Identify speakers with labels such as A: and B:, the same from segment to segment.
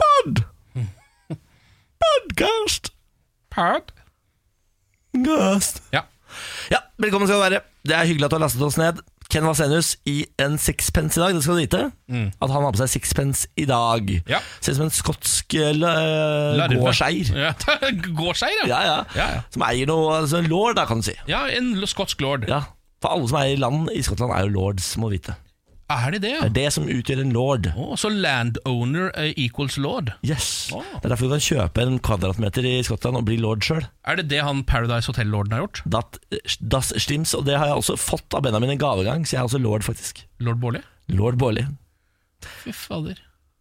A: Pod! Podcast!
B: Pod.
A: Gast.
B: Ja.
A: Ja, velkommen skal du være. Det er hyggelig at du har lastet oss ned. Ken Vasenius i en sixpence i dag. Det skal du vite. At han har på seg sixpence i dag.
B: Mm. Ja.
A: Ser ut som en skotsk eh, uh,
B: Larve.
A: gårdskeier.
B: Ja, gårdskeier, ja.
A: Ja, ja.
B: Ja, ja.
A: Som eier noe altså, en lord, da, kan du si.
B: Ja, en l- skotsk lord.
A: Ja. For alle som eier land i Skottland, er jo lords, må vite.
B: Er det det, ja?
A: Det er det som utgjør en lord.
B: Å, så landowner eh, equals lord.
A: Yes.
B: Å.
A: Det er derfor du kan kjøpe en kvadratmeter i Skottland og bli lord sjøl.
B: Er det det han Paradise Hotel-lorden har gjort?
A: Das Stims. Og det har jeg også fått av Benjamin i gavegang, så jeg er også lord, faktisk.
B: Lord Bårli?
A: Lord Bårli.
B: Fy fader.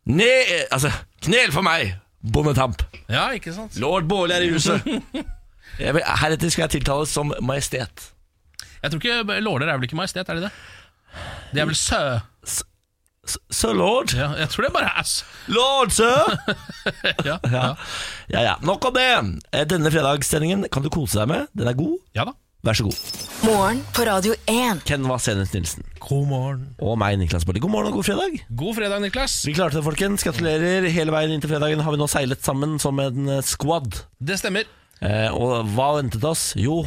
A: Ne... Altså, knel for meg, bondetamp!
B: Ja, ikke sant?
A: Lord Bårli er i huset! Jeg vil- Heretter skal jeg tiltales som majestet.
B: Jeg tror ikke lorder er vel ikke majestet, er de det? Det er vel sø...
A: S- Sir lord.
B: Ja, jeg tror det bare er s...
A: Lord, sir!
B: Ja, ja.
A: Ja. ja, ja. Nok om det. Eh, Denne fredagssendingen kan du kose deg med. Den er god.
B: ja da.
A: Vær så god.
C: Morgen på Radio 1.
A: Ken Vasenus Nilsen
B: God morgen.
A: og meg, Niklas Baarli. God morgen og god fredag.
B: God fredag, Niklas.
A: Vi klarte det, folkens. Gratulerer. Hele veien inn til fredagen har vi nå seilet sammen som en eh, squad.
B: Det stemmer.
A: Eh, og hva ventet oss? Jo,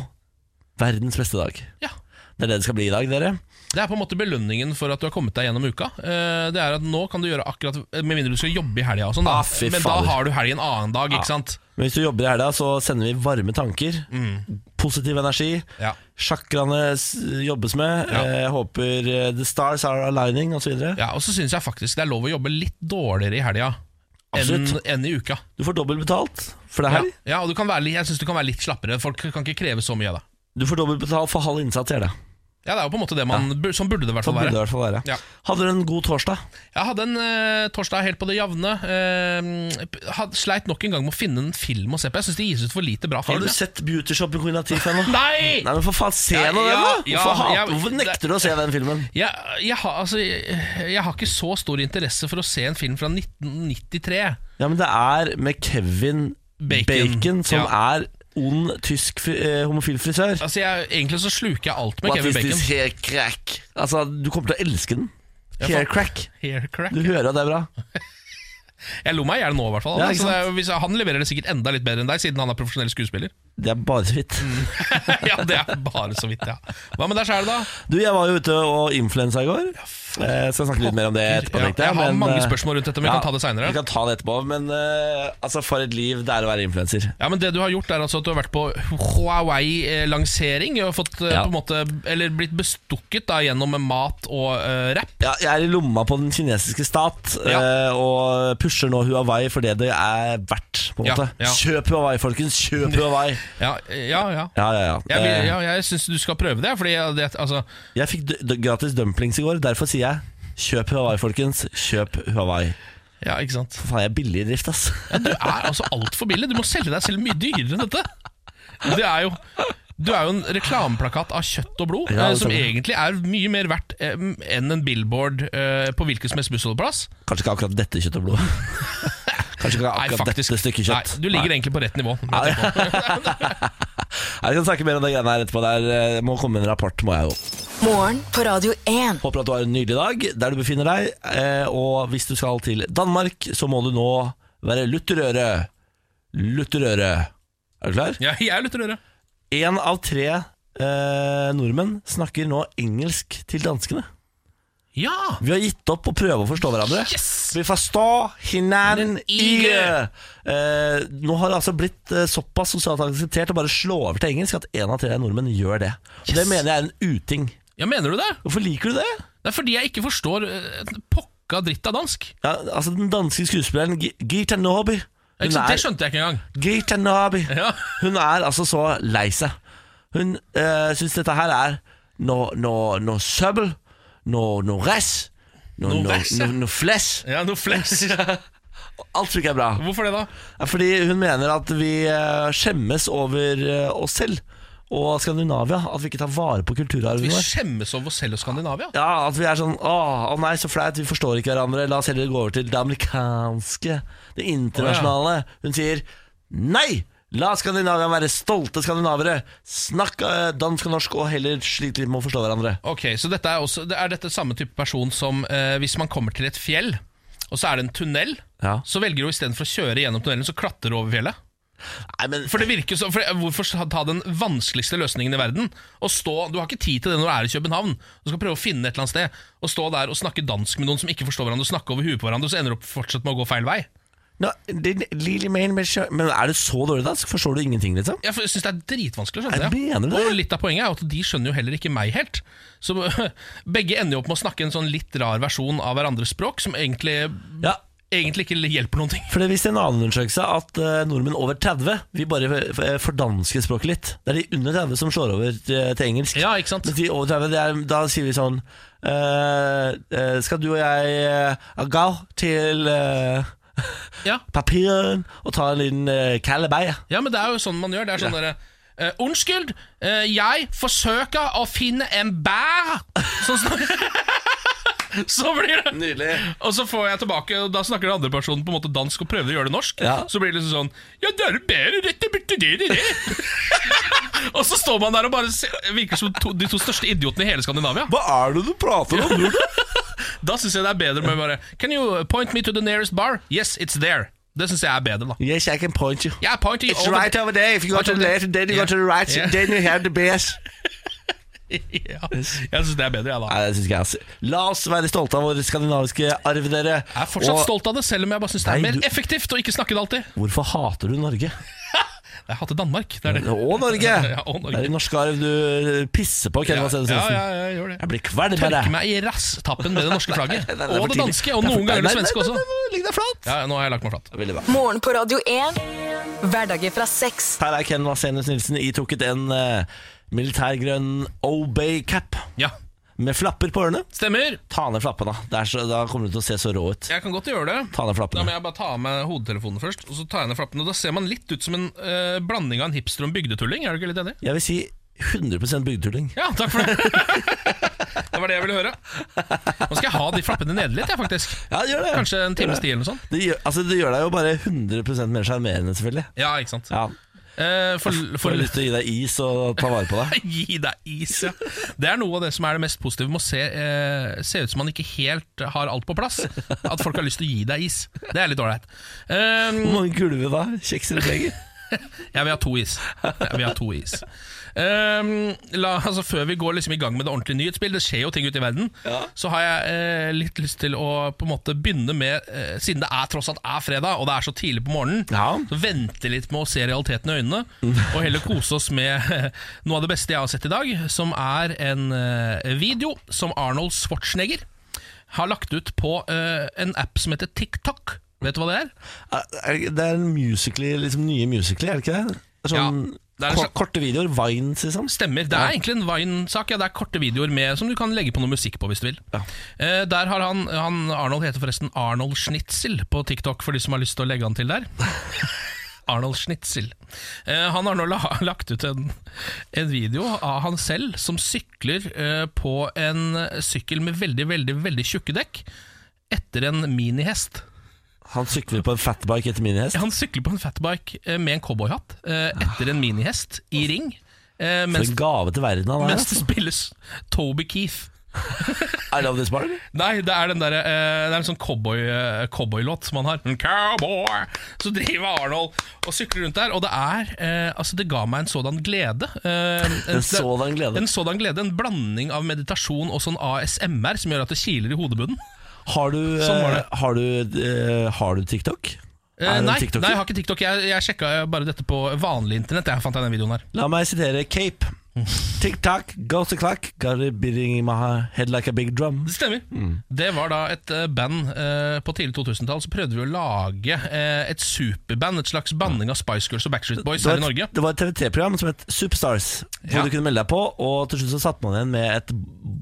A: verdens beste dag.
B: Ja.
A: Det er det det skal bli i dag, dere.
B: Det er på en måte belønningen for at du har kommet deg gjennom uka. Eh, Det er at Nå kan du gjøre akkurat eh, Med mindre du skal jobbe i helga, og sånn, da.
A: Ah, fy
B: men
A: fader. Ah.
B: da har du helg en annen dag, ikke sant?
A: Men hvis du jobber i helga, så sender vi varme tanker.
B: Mm.
A: Positiv energi.
B: Ja.
A: Sjakraene s- jobbes med.
B: Ja.
A: Eh, håper eh, the stars are aligning, osv. videre
B: Ja, og så syns jeg faktisk det er lov å jobbe litt dårligere i helga enn,
A: Absolutt.
B: enn i uka.
A: Du får dobbelt betalt, for det er
B: Ja,
A: helg.
B: ja og du kan være, litt- Jeg syns du kan være litt slappere. Folk kan ikke kreve så mye av deg.
A: Du får dobbelt betalt for halv innsats i helga.
B: Ja, det er jo på en måte det man bur- Sånn burde det i hvert
A: Sånn
B: fall
A: burde det i
B: være.
A: hvert fall være.
B: Ja.
A: Hadde du en god torsdag?
B: Jeg hadde en eh, torsdag helt på det jevne. Eh, had, sleit nok en gang med å finne en film å se på. Jeg syns det gis ut for lite bra
A: Har
B: film.
A: du
B: ja.
A: sett Beauty Shop i Queen Latifah nå?
B: Nei!
A: Nei, men for faen, se
B: Ja,
A: nå den, da!
B: ja, ja,
A: Hvorfor, hat-
B: ja,
A: hvorfor
B: det-
A: nekter du å se den filmen?
B: Jeg, jeg, har, altså, jeg, jeg har ikke så stor interesse for å se en film fra 1993.
A: Ja, men det er med Kevin Bacon,
B: Bacon.
A: som
B: Ja.
A: er ond tysk fri, eh, homofil frisør.
B: Altså, jeg, Egentlig så sluker jeg alt med Kevin Bacon.
A: hair crack? Altså, du kommer til å elske den.
B: faen.
A: Hair crack.
B: Hair crack.
A: Du hører at det er bra.
B: Jeg lo meg i hjel nå, i hvert fall.
A: Ja, ikke
B: altså, det er, jo- hvis, han leverer det sikkert enda litt bedre enn deg, siden han er profesjonell skuespiller.
A: Det er bare så vidt.
B: ja, Det er bare så vidt, ja. Hva med deg sjæl, da?
A: Du, jeg var jo ute og influensa i går. Eh, skal snakke litt mer om det etterpå.
B: Ja,
A: tenkte
B: jeg har
A: men,
B: mange
A: eh,
B: spørsmål rundt dette, men vi
A: ja,
B: kan ta det
A: Vi
B: seinere.
A: kan ta det etterpå, men eh, altså, for et liv det er å være influenser.
B: Ja, men det du har gjort, er altså at du har vært på Huawei-lansering. Og fått eh,
A: Ja.
B: på en måte Eller blitt bestukket da gjennom mat og uh, rapp.
A: Ja, jeg er i lomma på den kinesiske stat
B: Ja.
A: eh, og pusher nå Huawei for det det er verdt. på en
B: Ja,
A: måte
B: ja.
A: Kjøp Huawei, folkens! Kjøp Huawei!
B: Ja, eh, ja, ja.
A: Ja, ja, ja.
B: Jeg, vil,
A: Eh,
B: ja, jeg syns du skal prøve det. Fordi jeg- det altså,
A: Jeg fikk d- d- gratis dumplings i går, derfor sier jeg kjøp Hawaii, folkens. Kjøp Hawaii.
B: ja, ikke sant?
A: Faen, jeg er billig i drift, ass.
B: Du er altså altfor billig. Du må selge deg selv mye dyrere enn dette. Det er jo, du er jo en reklameplakat av kjøtt og blod,
A: Ja,
B: eh,
A: det
B: som
A: stemmer.
B: egentlig er mye mer verdt eh, enn en billboard eh, på hvilken som helst bussholdeplass.
A: Kanskje ikke akkurat dette kjøttet og blod. Kanskje ikke akkurat dette stykket kjøtt.
B: Nei, du ligger egentlig på rett nivå.
A: Nei. Nei, Vi kan snakke mer om det greiene her etterpå. Det er, eh, må komme en rapport, må jeg jo.
C: Morgen på Radio 1.
A: Håper at du har en nydelig dag der du befinner deg. eh, Og hvis du skal til Danmark, så må du nå være lutterøre. Lutterøre. Er du klar?
B: Ja, jeg er litt rødere.
A: Én av tre eh, nordmenn snakker nå engelsk til danskene.
B: Ja!
A: Vi har gitt opp å prøve å forstå hverandre.
B: Yes!
A: Vi forstår hinanden ikke!
B: ikke.
A: Eh, nå har det altså blitt eh, såpass sosialt akseptert å bare slå over til engelsk at én av tre nordmenn gjør det. Og Det
B: Yes.
A: mener jeg er en uting.
B: Ja, Mener du det?
A: Hvorfor liker du det?
B: Det er fordi jeg ikke forstår eh, pokka dritt av dansk.
A: Ja, altså Den danske skuespilleren Gi- Geeta Noby
B: Ikke
A: hun
B: sant?
A: er,
B: Det skjønte jeg ikke engang.
A: Geeta Noby
B: Ja.
A: Hun er altså så lei seg. Hun uh, syns dette her er noe no, no søppel, noe no ræs, noe
B: Noe
A: no,
B: ræs, ja.
A: no, no flesh.
B: Ja, noe flex.
A: Alt tror jeg er bra.
B: Hvorfor det, da?
A: Ja, Fordi hun mener at vi eh, skjemmes over eh, oss selv og Skandinavia. At vi ikke tar vare på
B: Vi
A: kulturarven vår.
B: skjemmes over oss selv og Skandinavia.
A: Ja, At vi er sånn Å, å nei, så flaut, vi forstår ikke hverandre. La oss heller gå over til det amerikanske, det internasjonale. Hun sier nei! La Skandinavia være stolte skandinavere. Snakk eh, dansk og norsk, og heller slite litt med å forstå hverandre.
B: Ok, så dette er, også, det er dette samme type person som eh, hvis man kommer til et fjell og så er det en tunnel.
A: Ja.
B: Så velger du istedenfor å kjøre gjennom tunnelen, så klatre over fjellet.
A: Nei, men
B: For det virker så, for eh, Hvorfor ta den vanskeligste løsningen i verden? Og stå, Du har ikke tid til det når du er i København. Du skal prøve å finne et eller annet sted Og stå der og snakke dansk med noen som ikke forstår hverandre, og snakke over huet på hverandre, og så ender du opp fortsatt med å gå feil vei.
A: Nå, din lille man med sjø- Men er det så dårlig dansk? Forstår du ingenting, liksom?
B: Jeg syns det er dritvanskelig å skjønne
A: Jeg mener det.
B: Og litt av poenget er jo at de skjønner jo heller ikke meg helt. Så begge ender jo opp med å snakke en sånn litt rar versjon av hverandres språk, som egentlig,
A: Ja.
B: egentlig ikke hjelper noen ting.
A: For det viste en annen undersøkelse at eh, nordmenn over 30 Vi bare eh, fordansker språket litt. Det er de under 30 som slår over eh, til, til engelsk.
B: Ja, ikke sant?
A: Mens de over 30, det er, da sier vi sånn eh, eh, Skal du og jeg uh, gå til eh,
B: Ja,
A: papiren og ta en liten uh, kalabei?
B: ja men det er jo sånn man gjør. Det er sånn derre eh, Unnskyld, eh, jeg forsøker å finne en bær Sånn snakker Så blir det
A: Nydelig.
B: Og så får jeg tilbake, og da snakker den andre personen på en måte dansk og prøver å gjøre det norsk.
A: Ja.
B: Så blir det liksom sånn Ja, det er jo bedre dette, bitte det, det, det. og så står man der og bare ser, virker som to, de to største idiotene i hele Skandinavia.
A: Hva er det du prater om?
B: Da syns jeg det er bedre med bare Can you point me to the nearest bar? Yes, it's there. Det syns jeg er bedre, da.
A: yes, I can point you.
B: Yeah, point to
A: It's
B: all the-
A: right over there. If you go to the left, then you go to the right,
B: Yeah.
A: then you have the best.
B: ja. Jeg syns det er bedre, jeg, da.
A: Nei, det synes ikke jeg ass. La oss være stolte av vår skandinaviske arv, dere.
B: Jeg er fortsatt
A: Og
B: stolt av det, selv om jeg bare syns det er
A: Nei,
B: mer
A: du-
B: effektivt å ikke snakke det alltid.
A: Hvorfor hater du Norge?
B: Jeg hater Danmark. Det er det.
A: Og Norge!
B: Ja, og Norge.
A: Det er din norske arv du eh, pisser på, Kjell
B: Ja,
A: Mads
B: ja,
A: Evensen.
B: ja, jeg gjør det.
A: Jeg blir kvalm av det.
B: Tørke meg i rasstappen med det norske flagget.
A: Nei, nei, er
B: Og
A: for
B: det
A: tidlig.
B: danske, og
A: Det er for-
B: noen ganger
A: Nei,
B: det
A: nei,
B: svenske
A: nei,
B: også.
A: nei, nei, Ligg deg flat!
B: Ja, nå har jeg lagt meg flat.
A: Veldig bra.
C: Morgen på Radio 1. Hverdager fra seks.
A: Her er Ken Vasenius Nilsen itrukket en eh, militærgrønn Obey-cap
B: Ja,
A: med flapper på ørene.
B: Stemmer.
A: Ta ned flappene. Det er så, da kommer du til å se så rå ut.
B: Jeg kan godt gjøre det.
A: Ta ned
B: Da må
A: flappene.
B: jeg bare ta av meg hodetelefonen først, og så tar jeg ned flappene. Da ser man litt ut som en eh, blanding av en hipster og en bygdetulling. Er du ikke litt enig?
A: Jeg vil si 100 bygdetulling.
B: Ja, takk for det. det var det jeg ville høre. Nå skal jeg ha de flappene nede litt, jeg, faktisk.
A: Ja, gjør det.
B: Kanskje en times tid eller noe sånt.
A: Det gjør, altså, det gjør deg jo bare 100 mer sjarmerende, selvfølgelig.
B: Ja, ikke sant.
A: Ja,
B: Eh, for,
A: Får
B: for,
A: lyst til å gi deg is og ta vare på deg.
B: Gi deg is, ja. Det er noe av det som er det mest positive med å se, eh, se ut som man ikke helt har alt på plass. At folk har lyst til å gi deg is. Det er litt ålreit.
A: Hvor
B: Um,
A: mange gulve da? Kjeks eller bleger?
B: jeg vil ha to is. Jeg vil ha to is. Um, la, altså, før vi går liksom i gang med det ordentlige nyhetsbildet, det skjer jo ting ute i verden, så har jeg eh, litt lyst til å på en måte begynne med eh, Siden det er tross alt er fredag, og det er så tidlig på morgenen,
A: Ja.
B: så vente litt med å se realiteten i øynene, og heller kose oss med noe av det beste jeg har sett i dag, som er en eh, video som Arnold Schwarzenegger har lagt ut på eh, en app som heter TikTok. Vet du hva det er?
A: Er- Det er en musically, liksom nye musically, er det ikke det? Det er Sånn
B: Ja, det er en
A: ko- korte videoer, vines liksom.
B: Stemmer. Det er egentlig en Vine-sak. Ja, det er korte videoer med, som du kan legge på noe musikk på hvis du vil.
A: Ja.
B: Eh, der har han, han Arnold heter forresten Arnold Schnitzel på TikTok, for de som har lyst til å legge han til der. Arnold Schnitzel. Eh, han har nå la, lagt ut en, en video av han selv som sykler eh, på en sykkel med veldig, veldig, veldig tjukke dekk etter en minihest.
A: Han sykler på en fatbike etter minihest.
B: Ja, Han sykler på en fatbike eh, med en cowboyhatt eh, etter en minihest i ring. Eh,
A: For
B: mens
A: en gave til verden han er.
B: mens det
A: altså.
B: spilles Toby Keith.
A: I love this bar.
B: Nei, det er, den der, eh, det er en sånn cowboy, eh, cowboy-låt som han har. En Cowboy! Så driver Arnold og sykler rundt der. Og det er eh, Altså, det ga meg en sådan glede. Eh,
A: En sådan glede.
B: En sådan glede, en blanding av meditasjon og sånn ASMR som gjør at det kiler i hodebunnen.
A: Har du, eh,
B: Sånn var det.
A: har du, eh, har du TikTok?
B: Eh,
A: Er du en
B: nei,
A: TikToker?
B: nei, jeg har ikke TikTok. Jeg, jeg sjekka bare dette på vanlig internett. Jeg fant jeg den videoen her.
A: La meg sitere Cape.
B: Mm.
A: TikTok goes the clock, got it beating in my head like a big drum.
B: Det stemmer. Det var da et eh, band eh, på tidlig 2000-tall. Så prøvde vi å lage eh, et superband. Et slags blanding av Spice Girls og Backstreet Boys
A: Det
B: her i
A: var,
B: Norge.
A: et- det var et TV3-program som het Superstars, hvor
B: Ja.
A: du kunne melde deg på, og til slutt så satt man igjen med et,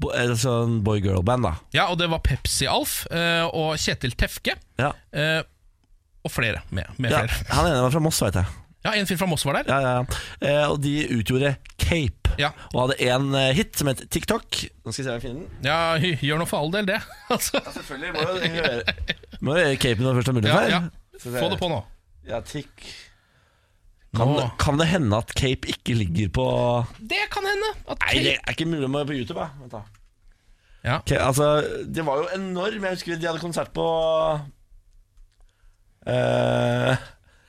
A: bo- et sånn boy-girl-band, da.
B: Ja, og det var Pepsi-Alf eh, og Kjetil Tefke.
A: Ja.
B: eh, og flere med. med
A: Ja,
B: flere.
A: han ene var fra Moss, veit jeg.
B: ja, En fyr fra Moss var der.
A: Ja, ja, ja. Eh, og de utgjorde Cape,
B: Ja.
A: og hadde én hit som het TikTok. Nå skal jeg se om jeg finner den.
B: Ja, hy- gjør nå for all del det. altså,
A: Selvfølgelig må jo gjøre Må jo gjøre Cape når det først er mulig
B: ja,
A: for.
B: ja. Få det på nå.
A: Ja, tikk. Kan,
B: nå.
A: kan det hende at Cape ikke ligger på
B: Det kan hende. At
A: Nei, det er ikke mulig å på YouTube, da. Vent da.
B: Ja.
A: Ca- altså, det var jo enorm Jeg husker de hadde konsert på Eh,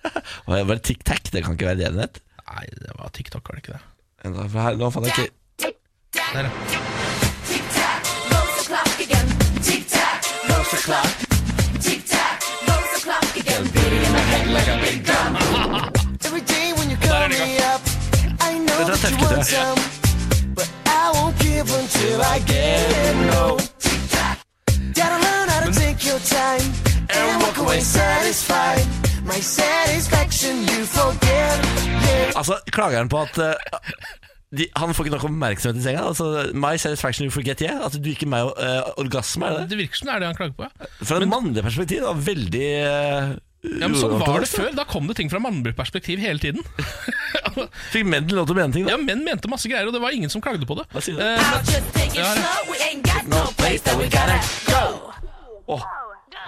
A: Hva var det tic-tac? Det kan ikke være det den het.
B: Nei, det var TikTok, var det ikke det?
A: Vent da, for her- Nå fant jeg ikke
B: Der, ja.
D: Every day when you call
B: there you
D: me up, I know
A: That's
D: that you
A: good,
D: want
A: yeah.
D: some, but I won't give until I get no. Gotta learn how to take your time and walk away satisfied. My satisfaction, you forget. Yeah.
A: Altså, klager han på at eh, de, han får ikke nok oppmerksomhet i senga? Altså, My satisfaction you forget yeah? At du ikke meg uh, orgasme, er det det?
B: Det virker som det er det han klager på. Ja.
A: Fra et mannlig perspektiv, det var veldig uh,
B: Ja, men Sånn var det før. Da kom det ting fra mannbruksperspektiv hele tiden.
A: Fikk menn lov til å mene ting, da?
B: ja, Menn mente masse greier, og det var ingen som klagde på det.
A: Hva sier du?
B: Eh, men- Ja, ja.
A: Åh,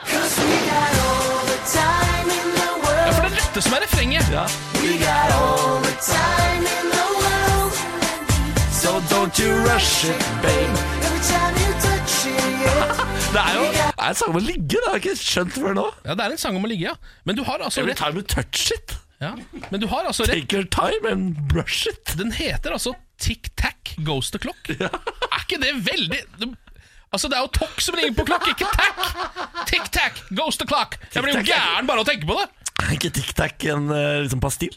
D: Cause we got all the time in the
B: ja, for det
D: world.
B: er dette som er refrenget.
A: ja.
D: We got all the time in the world.
A: So don't you rush it, babe.
D: Every time you touch it, yeah.
A: Det er jo det er en sang om å ligge, det har jeg ikke skjønt før nå.
B: Ja, Det er en sang om å ligge, ja. Men du har altså
A: Every
B: rett.
A: time you touch it,
B: Ja. Men du har altså rett.
A: take your time and brush it.
B: Den heter altså Tic Tac Goes the Clock. Er ikke det veldig det- Altså Det er jo Tok som ringer på klokk, ikke Tac! Tic Tac Goes the Clock. Jeg blir jo
A: Tic Tac er-
B: gæren bare av å tenke på det.
A: Er ikke Tic Tac en eh, liksom pastill?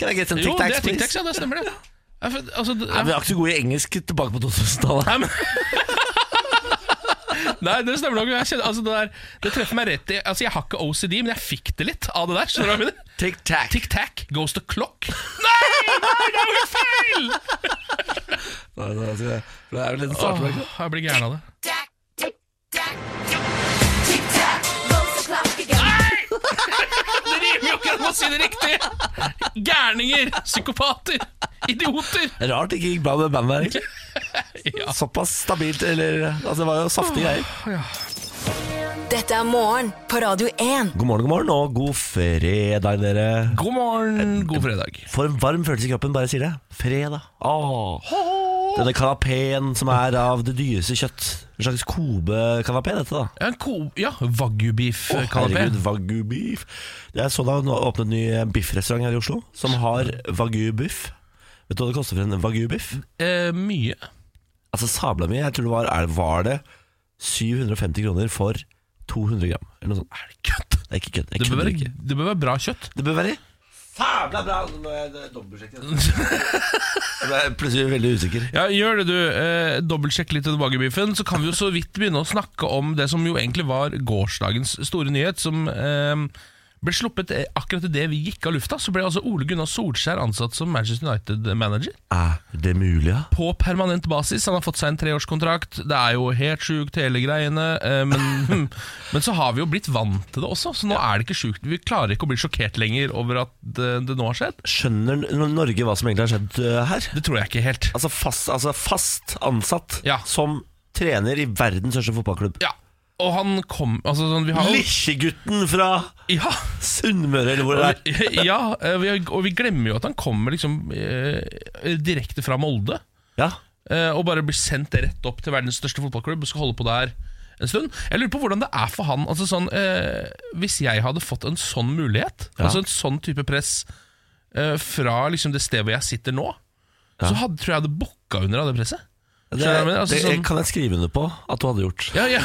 A: Can I get some
B: Jo,
A: Tic
B: det
A: Tacs,
B: er Tic Tacs,
A: please?
B: ja. Det stemmer, det. Ja, for, altså, det-
A: Nei,
B: ja.
A: vi er ikke så gode i engelsk tilbake på 2000-tallet.
B: Nei, men Nei, det stemmer nok. Jeg kjenner, altså, det, der, det treffer meg rett i Altså Jeg har ikke OCD, men jeg fikk det litt av det der. Skjønner du hva jeg mener?
A: Tic Tac.
B: Tic Tac Goes the Clock. Nei, nei, det er jo feil!
A: Nei, nei, altså, Det er vel en sånn- startblank, da.
B: Åh, jeg blir gæren av det. Det rimer jo ikke an å si det riktig! Gærninger, psykopater, idioter.
A: Rart det ikke gikk bra med bandet her. egentlig.
B: Ja.
A: Såpass stabilt, eller Altså, det var jo saftige greier.
C: Dette er morgen på Radio 1.
A: God morgen, god morgen, og god fredag, dere.
B: God morgen, god fredag.
A: For en varm følelse i kroppen, bare sier det. Fredag. Åh. Denne kanapeen som er av det dyreste kjøtt. En slags Kobe-kanapé, dette, da.
B: En ko... Ja, wagyu-beef-kanapé.
A: herregud, wagyu beef. Jeg så da hun åpnet en ny eh, biffrestaurant her i Oslo, som har wagyu biff. Vet du hva det koster for en wagyu biff?
B: eh, mye.
A: Altså sabla mye, jeg tror det var, er, var det 750 kroner for 200 gram Eller noe sånt Er det kødd? Det er ikke kødd, jeg
B: Det bør,
A: kødder
B: være,
A: ikke
B: det bør være bra kjøtt.
A: Det bør være sabla bra Nå må jeg eh, dobbeltsjekke det Jeg ble plutselig veldig usikker
B: Ja, Gjør det, du. Eh, Dobbeltsjekk litt den wagyu-beefen. Så kan vi jo så vidt begynne å snakke om det som jo egentlig var gårsdagens store nyhet, som eh, ble sluppet eh, akkurat idet vi gikk av lufta. Så ble altså Ole Gunnar Solskjær ansatt som Manchester United-manager.
A: Er det mulig, ja?
B: på permanent basis. Han har fått seg en treårskontrakt. Det er jo helt sjukt, hele greiene. eh, Men, men så har vi jo blitt vant til det også, så nå er det ikke sjukt. Vi klarer ikke å bli sjokkert lenger over at det, det nå har skjedd.
A: Skjønner N- Norge hva som egentlig har skjedd øh, her?
B: Det tror jeg ikke helt.
A: Altså fast, altså fast ansatt
B: Ja.
A: Som trener i verdens største fotballklubb
B: Ja, Og han kom Altså, sånn, vi har jo
A: Lisjegutten fra
B: ja,
A: Sunnmøre, eller hvor det er
B: ja, eh, vi har- og vi glemmer jo at han kommer liksom eh, direkte fra Molde.
A: Ja
B: eh, og bare blir sendt rett opp til verdens største fotballklubb og skal holde på der en stund. Jeg lurer på hvordan det er for han. Altså sånn, eh, hvis jeg hadde fått en sånn mulighet,
A: Ja.
B: altså en sånn type press eh, fra liksom det stedet hvor jeg sitter nå, så hadde, tror jeg jeg hadde bukka under av det presset.
A: det,
B: Skjønner du hva jeg mener? Altså,
A: det
B: sånn-
A: kan jeg skrive under på at du hadde gjort
B: Ja, ja,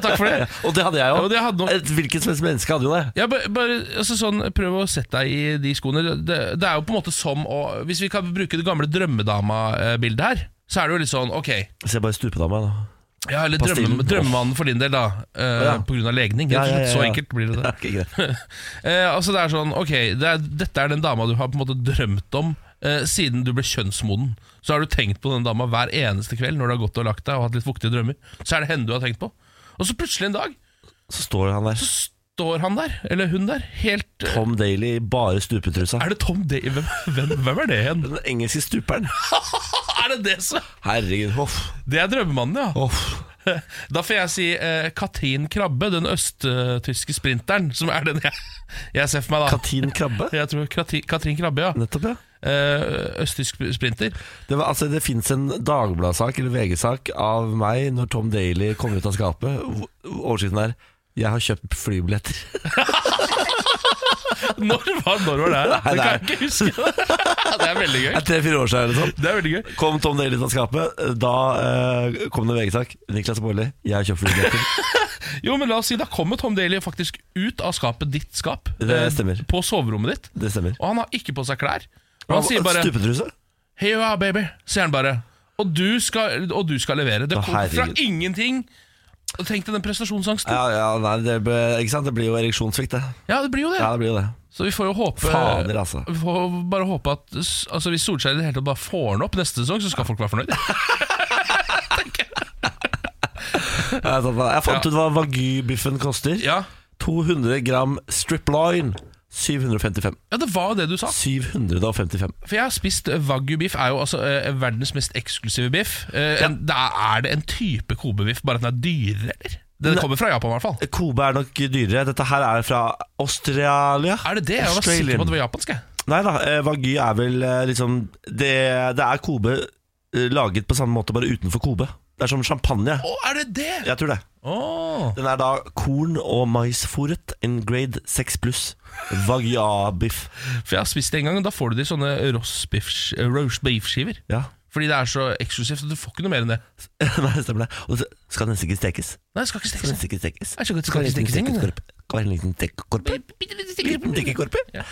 B: Takk for det.
A: Og det hadde jeg
B: Ja,
A: jo
B: og det hadde noe-
A: Et Hvilket som helst menneske hadde jo det
B: Ja, bare, bare altså sånn, Prøv å sette deg i de skoene. Det, det er jo på en måte som å Hvis vi kan bruke det gamle drømmedama-bildet her, så er det jo litt sånn ok
A: Så jeg bare stupet av meg da
B: Ja, eller
A: Pastillen.
B: drømme, drømmemannen for din del, da. Uh,
A: Ja.
B: På grunn av legning.
A: Ja,
B: Rett og
A: ja,
B: slett.
A: ja,
B: Så
A: ja.
B: enkelt blir det. det.
A: Ok, greit
B: Eh, altså det er sånn, ok, det er, Dette er den dama du har på en måte drømt om eh, siden du ble kjønnsmoden. Så har du tenkt på den dama hver eneste kveld når du har gått og lagt deg og hatt litt fuktige drømmer. Så er det henne du har tenkt på. Og så plutselig en dag
A: Så står han der
B: så står han der, eller hun der, helt eh,
A: Tom Daly i bare stupetrusa
B: Er det Tom Day? Hvem, hvem, hvem er det igjen?
A: Den engelske stuperen
B: er det det som
A: Herregud, hoff
B: Det er drømmemannen, ja.
A: Hoff
B: Da får jeg si eh, Katrin Krabbe, den østtyske sprinteren, som er den jeg, jeg ser for meg, da.
A: Katin Krabbe
B: Jeg tror Krati, Katrin Krabbe, ja.
A: Nettopp, ja
B: Eh, østtysk sprinter.
A: Det, var, altså, det finnes en Dagbladsak eller VG-sak av meg Når Tom Daly kom ut av skapet Hvor- Overskriften er Jeg har kjøpt flybilletter
B: Når var, når var det her?
A: Nei,
B: Det kan jeg
A: nei.
B: ikke huske. Det er veldig gøy.
A: Det er tre-fire år siden. Eller sånn.
B: Det er veldig gøy.
A: Kom Tom Daly ut av skapet. Da eh, kom det en VG-sak. Niklas Baarli, jeg har kjøpt flybilletter.
B: Jo, men la oss si Da kommer Tom Daly faktisk ut av skapet, ditt skap,
A: Det
B: eh,
A: stemmer.
B: på soverommet ditt.
A: Det stemmer.
B: Og han har ikke på seg klær. Og han sier bare
A: Stupetruse?
B: Here you are, baby, sier han bare. Og du skal, og du skal levere. Det
A: Å,
B: kom fra
A: herregud.
B: ingenting. Og Tenk deg den prestasjonsangsten.
A: Ja, ja, nei, det, ble, ikke sant? det blir jo ereksjonssvikt, det.
B: Ja, det blir jo det.
A: Ja, det blir jo det.
B: Så vi får jo håpe
A: Fader, altså.
B: Vi får bare håpe at s- altså, Hvis Solskjær i det hele tatt bare får den opp neste sesong, så skal folk være fornøyd.
A: Jeg, sånn, jeg fant ut hva Wagyu-biffen koster.
B: Ja,
A: 200 gram strip line. 755.
B: ja det var jo det du sa.
A: 755.
B: For jeg har spist wagyu-biff. Er jo altså eh, verdens mest eksklusive biff. Eh, en, det er, er det en type kobebiff, bare at den er dyrere, eller? Den
A: Nei.
B: kommer fra Japan, i hvert fall.
A: Kobe er nok dyrere. Dette her er fra Australia.
B: Er det det? Jeg var sikker på at det var japansk. jeg.
A: Nei da, eh, Wagyu er vel eh, liksom Det, det er Kobe eh, laget på samme måte, bare utenfor Kobe. Det er som champagne.
B: Å, er det det?
A: Jeg tror det.
B: Åh.
A: Den er da korn- og maisfòret in grade 6 pluss. Wagyu-biff.
B: For jeg har spist det en gang, og da får du det i sånne roastbiff- eh, roast beef-skiver.
A: Ja.
B: Fordi det er så eksklusivt, så du får ikke noe mer enn det.
A: Nei, stemmer det. Og så skal den nesten ikke stekes.
B: Nei, det skal ikke
A: Skal
B: stekes.
A: nesten ikke stekes.
B: Er det så godt, skal ikke stekes engang,
A: stekeskorpe. Skal være en liten stekkorpe.
B: Bitte litt
A: Liten
B: stekes.
A: stekkorpe.
B: Ja.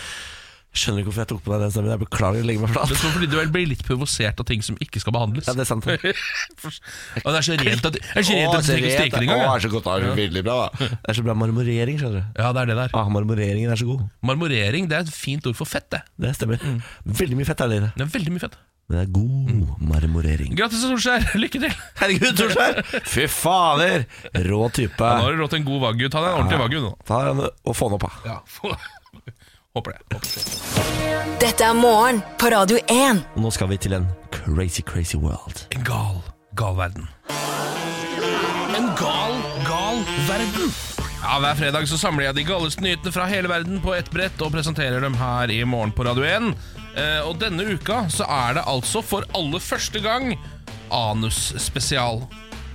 A: Skjønner ikke hvorfor jeg tok på deg den stemmen. Jeg beklager, jeg legger meg
B: Det
A: flat.
B: tror jeg fordi du vel blir litt provosert av ting som ikke skal behandles.
A: Ja, det er sant. Å,
B: Og det er så rent at, det er så rent at du
A: så
B: trenger
A: rett.
B: steker engang.
A: Å,
B: ja.
A: er så godt. Det er veldig bra, da. Det er så bra marmorering, skjønner du.
B: Ja, det er det der.
A: Ah, marmoreringen er så god.
B: Marmorering det er et fint ord for fett. Det
A: Det stemmer.
B: Mm.
A: Veldig mye fett er det i det.
B: Det er veldig mye fett.
A: Men det er
B: Mm.
A: god marmorering.
B: Grattis til Solskjær, lykke til!
A: Herregud, Torstein! Fy fader! Rå type.
B: Nå har du rått en god wagyu. Ta deg en ordentlig wagyu nå.
A: Ta den og få den opp, da.
B: Ja. Håper det. Håper det.
C: Dette er morgen på Radio 1.
A: Og Nå skal vi til en crazy, crazy world.
B: En gal, gal verden. En gal, gal verden. Ja, Hver fredag så samler jeg de galeste nyhetene fra hele verden på ett brett og presenterer dem her i morgen på Radio 1. Eh, og denne uka så er det altså for aller første gang anusspesial.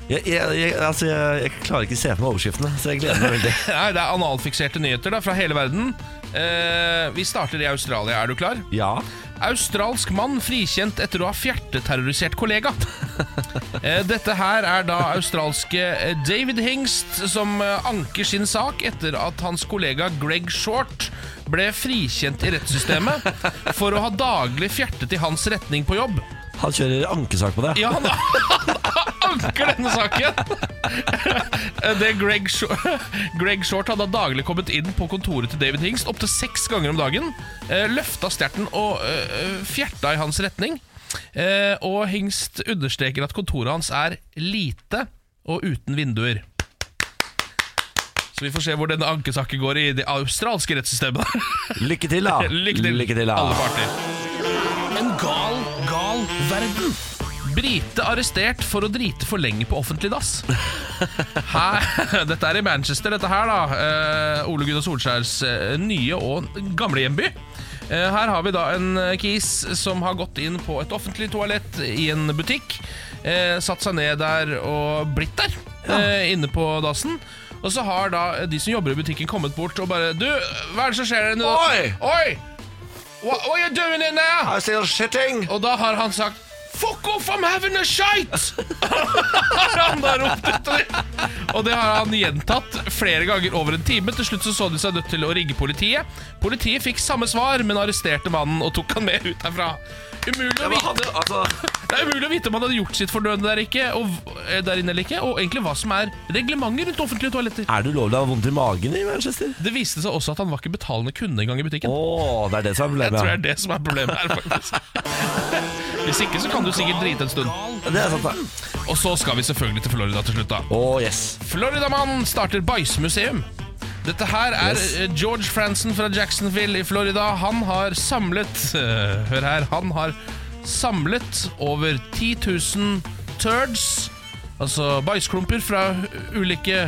A: Jeg, jeg, jeg, altså, jeg, jeg klarer ikke å se for meg overskriftene, så jeg gleder meg veldig.
B: Nei, det er analfikserte nyheter da, fra hele verden. Eh, vi starter i Australia. Er du klar?
A: Ja.
B: Australsk mann frikjent etter å ha fjerteterrorisert kollega. Eh, Dette her er da australske eh, David Hingst som eh, anker sin sak etter at hans kollega Greg Short ble frikjent i rettssystemet for å ha daglig fjertet i hans retning på jobb.
A: Han kjører ankesak på det.
B: Ja, han, han anker denne saken! Det Greg, Short, Greg Short hadde daglig kommet inn på kontoret til David Hingst opptil seks ganger om dagen. eh, Løfta stjerten og eh, fjerta i hans retning. Eh, Og Hingst understreker at kontoret hans er lite og uten vinduer. Så vi får se hvor denne ankesaken går i det australske rettssystemet.
A: Lykke til, da.
B: Lykke til, alle
A: da.
B: parter. En gal, gal verden. Brite arrestert for å drite for lenge på offentlig dass. Her, dette er i Manchester, dette her, da. Eh, Ole Gunnar Solskjærs eh, nye og gamle hjemby. Eh, her har vi da en eh, kis som har gått inn på et offentlig toalett i en butikk. Eh, satt seg ned der og blitt der, eh, inne på dassen. Og så har da eh, de som jobber i butikken, kommet bort og bare Du, hva er det som skjer der inne?
A: Oi!
B: Oi! What, what are you doing in there?
A: I still shitting!
B: Og da har han sagt Fuck off, I'm having a shite! han har ropt etter dem. Og det har han gjentatt flere ganger over en time. Til slutt så, så de seg nødt til å ringe politiet. Politiet fikk samme svar, men arresterte mannen og tok han med ut herfra. Umulig å
A: Men
B: vite,
A: han, altså,
B: det er umulig å vite om han hadde gjort sitt fordøde der, ikke, og, eh, der inne eller ikke, og egentlig hva som er reglementet rundt offentlige toaletter.
A: er det ulovlig å ha vondt i magen i Manchester?
B: Det viste seg også at han var ikke betalende kunde engang i butikken.
A: Å, det er det som er
B: Jeg
A: problemet.
B: tror det er det som er problemet her, faktisk. Hvis ikke så kan du sikkert drite en stund.
A: ja. Det er sant, da.
B: Og så skal vi selvfølgelig til Florida til slutt, da.
A: Å, yes.
B: Floridamannen starter bæsjmuseum. Dette her er
A: Yes.
B: eh, George Franson fra Jacksonville i Florida. Han har samlet eh, Hør her. Han har samlet over 10 000 turds, altså bæsjklumper fra ulike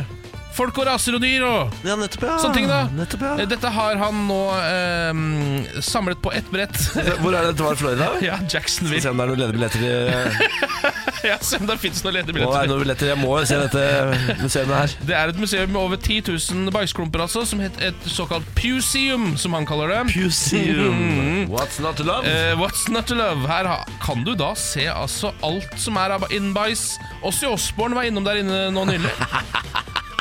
B: folk og raser og dyr og
A: Ja, nettopp, ja.
B: sånne ting. da
A: Nettopp, ja.
B: Eh, Dette har han nå eh, samlet på ett brett.
A: Altså, Hvor er det dette var? Florida? eller?
B: ja,
A: Skal vi
B: Jacksonville.
A: se om det er noen ledebilletter i
B: Ja, se om det fins noen
A: Å,
B: ledige
A: er det
B: billetter.
A: noen billetter? Jeg må jo se dette museet her.
B: Det er et museum med over 10 000 bæsjklumper, altså, som het et såkalt puseum, som han kaller det.
A: Museum. What's not to love?
B: Mm. Eh, what's not to love? Her ha- kan du da se altså alt som er av innbæsj. Åssi Osborn var innom der inne nå nylig.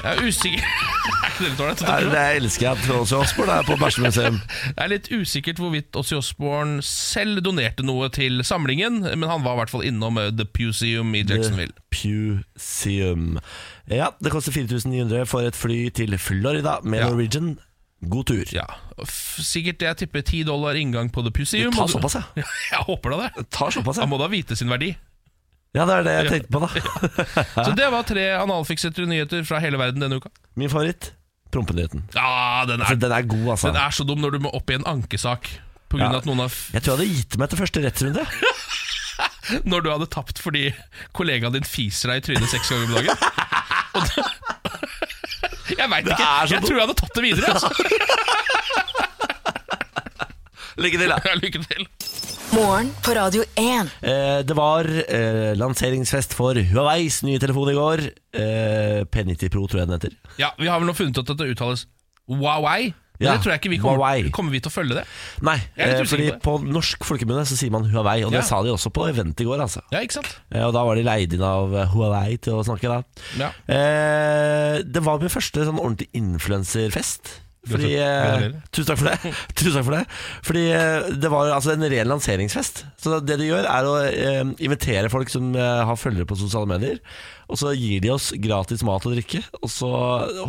B: Jeg er usikker Er det litt ålreit å
A: Er
B: tro?
A: det jeg elsker jeg at Trolls og Osborn er på bæsjemuseum.
B: Det er litt usikkert hvorvidt Åssi Osborn selv donerte noe til samlingen, men han var i hvert fall innom eh, The Puseum i Jacksonville.
A: Puseum. Ja, det koster 4900 for et fly til Florida med
B: Ja.
A: Norwegian. God tur.
B: Ja, f Sikkert det jeg tipper 10 dollar inngang på The Puseum.
A: Ta
B: og du-
A: såpass, ja.
B: Jeg håper da det.
A: Ta såpass, ja.
B: Han må da vite sin verdi.
A: Ja, det er det jeg tenkte på, da.
B: Så det var tre analfiksete nyheter fra hele verden denne uka.
A: Min favoritt prompenyheten.
B: Ja, den
A: For
B: er
A: den er god, altså.
B: Den er så dum når du må opp i en ankesak på grunn av
A: Ja.
B: at noen har f
A: Jeg tror jeg hadde gitt meg til første rettsrunde.
B: Når du hadde tapt fordi kollegaen din fiser deg i trynet seks ganger om dagen. Og da- Jeg veit ikke.
A: er så
B: Jeg
A: dumt.
B: tror jeg hadde tatt det videre. Altså.
A: Lykke til, da.
B: Lykke til.
C: Morgen på Radio 1.
A: Eh, det var eh, lanseringsfest for Huaweis nye telefon i går. Eh, P90 Pro, tror jeg den heter.
B: Ja, Vi har vel nå funnet ut at det uttales Huawei. Men
A: Ja,
B: det tror jeg ikke vi kommer,
A: Huawei.
B: kommer vi til å følge det.
A: Nei,
B: Jeg er litt
A: eh,
B: usikker
A: fordi på
B: på
A: norsk folkemunne så sier man Huawei, og det
B: Ja.
A: sa de også på event i går, altså.
B: Ja, ikke sant?
A: Eh, og da var de leid inn av eh, Huawei til å snakke, da.
B: Ja.
A: Eh, det var min første sånn ordentlig influenserfest. Fordi, eh,
B: Gratulerer.
A: tusen takk for det. Tusen takk for det Fordi eh, det var altså en ren lanseringsfest. Så det de gjør, er å eh, invitere folk som eh, har følgere på sosiale medier. Og så gir de oss gratis mat og drikke, og så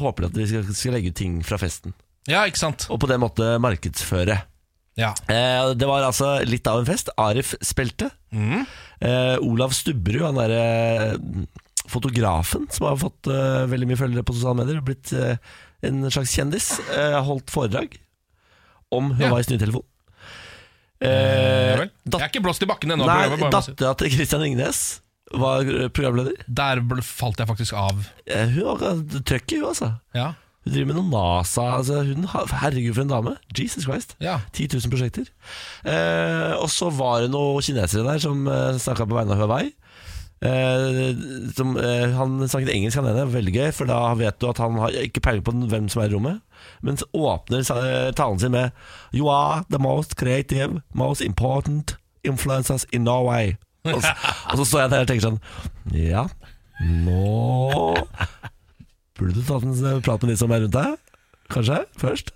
A: håper de at vi skal, skal legge ut ting fra festen.
B: Ja, ikke sant?
A: Og på den måten markedsføre.
B: Ja.
A: Eh, det var altså litt av en fest. Arif spilte.
B: Mm.
A: Eh, Olav Stubberud, han derre eh, fotografen som har fått eh, veldig mye følgere på sosiale medier, og blitt eh, en slags kjendis, eh, holdt foredrag om
B: Ja.
A: Huaweis nye telefon. Eh,
B: Ja vel. Jeg er ikke blåst i bakken ennå.
A: nei,
B: programmet, bare må si.
A: dattera til Christian Ringnes var eh, programleder.
B: Der bl- falt jeg faktisk av.
A: Eh, hun har trøkket, hun, altså.
B: Ja,
A: Hun driver med noe NASA. Altså, hun har, herregud, for en dame. Jesus Christ.
B: ja.
A: 10 000 prosjekter. Eh, og så var det noen kinesere der som eh, snakka på vegne av Huawei. Eh, som, eh, han snakket engelsk, han ene. Veldig gøy, for da vet du at han har ikke peiling på hvem som er i rommet. Men så åpner sa- eh, talen sin med You are the most creative, most important influencers in Norway. Og så, og så står jeg der og tenker sånn Ja, nå Burde du tatt en eh, prat med de som er rundt deg? Kanskje? Først?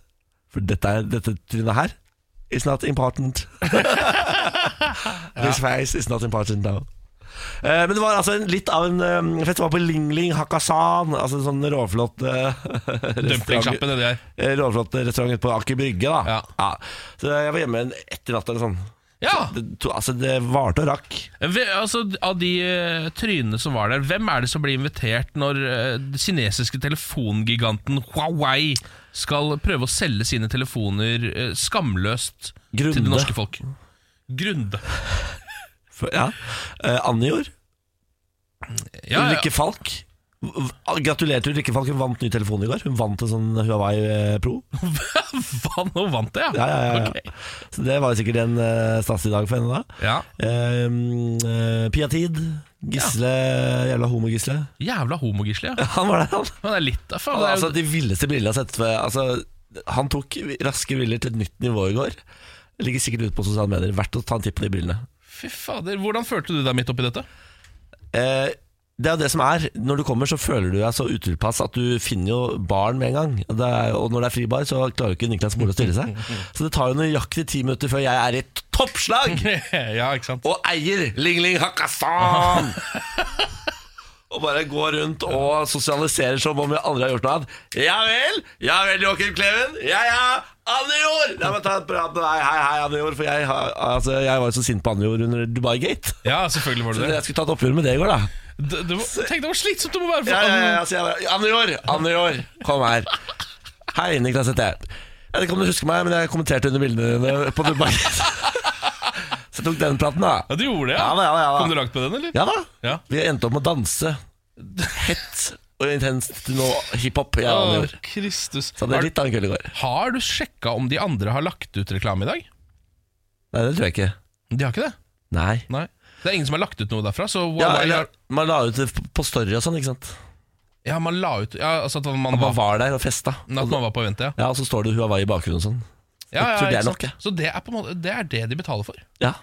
A: For dette, er- dette trynet her is not important. This face is not important now. Eh, men det var altså en, litt av en eh, fest. Det var på Ling Ling Hakasan. Altså en sånn råflott eh, restaurant,
B: Dumplingsjappen nedi der.
A: eh, råflott restaurant ute på Aker Brygge. Da.
B: Ja.
A: Så jeg var hjemme en ett i natt eller sånn.
B: Ja.
A: Det, to, altså, det varte og rakk.
B: Ve- altså, av de eh, trynene som var der, hvem er det som blir invitert når eh, den kinesiske telefongiganten Huawei skal prøve å selge sine telefoner eh, skamløst til
A: Grunde.
B: det norske folk? Grunde.
A: For, ja. Eh, Anjor.
B: Ja, ja.
A: Ulrikke Falk. V- v- Gratulerer til Ulrikke Falk. Hun vant ny telefon i går. Hun vant en sånn Huawei eh, Pro.
B: Faen, nå vant jeg,
A: Ja, ja, ja, ja.
B: Ok.
A: Så det var jo sikkert en uh, staselig dag for henne da.
B: ja.
A: Eh, eh, Pia Tid. Gisle. Jævla homogisle.
B: Jævla homogisle, ja.
A: Han var der, han.
B: Han er litt av faen.
A: Han
B: det
A: har
B: er jo-
A: altså de villeste brillene jeg har sett. Altså, han tok raske briller til et nytt nivå i går. Ligger sikkert ute på sosiale medier. Verdt å ta en titt på de brillene.
B: Fy fader, hvordan følte du deg midt oppi dette?
A: Eh, det er jo det som er. Når du kommer, så føler du deg så utilpass at du finner jo baren med en gang. Og, det er, og når det er fribar, så klarer jo ikke Niklas Mole å stille seg. Så det tar jo nøyaktig ti minutter før jeg er i toppslag
B: ja, ikke sant?
A: og eier Ling Ling Hakkasan! Og bare går rundt og sosialiserer som om jeg aldri har gjort noe annet. Ja vel, ja vel, Joakim Kleven. Ja ja, Anne Jord! La meg ta en prat med deg. Hei, hei, Anne Jord. For jeg, har- altså, jeg var jo så sint på Anne Jord under Dubai Gate.
B: Ja, selvfølgelig var
A: Så
B: det det.
A: jeg skulle tatt oppgjør med det i går, da.
B: det, det var, tenk deg hvor slitsomt det må være for
A: Ja, ja, ja,
B: han-
A: altså, jeg bare, Andre år, andre år, kom her Hei, Niklas heter jeg Jeg vet ikke om du husker meg, men jeg kommenterte under bildene dine på Dubai Så jeg tok den platen da
B: Ja, du gjorde det,
A: Ja da, ja da, ja da.
B: Kom du langt med den, eller?
A: Ja da,
B: Ja.
A: vi endte opp med å danse Hett og intenst til noe hiphop jeg
B: Å,
A: avgjør.
B: Kristus.
A: Så det
B: Har,
A: er litt av en kveld i går.
B: har du sjekka om de andre har lagt ut reklame i dag?
A: Nei, det tror jeg ikke.
B: De har ikke det?
A: Nei.
B: Nei. Det er ingen som har lagt ut noe derfra. Så
A: Ja,
B: Walai
A: eller,
B: har-
A: man la ut det på story og sånn, ikke sant.
B: ja, man la ut ja, altså at, man
A: Man bare
B: var,
A: var der og festa.
B: at man var på vente,
A: Ja,
B: ja.
A: og så står det Huawei i bakgrunnen og sånn.
B: ja, ja
A: Jeg tror det er
B: ikke sant?
A: nok, jeg.
B: Så det er, på en måte, det er det de betaler for.
A: Ja.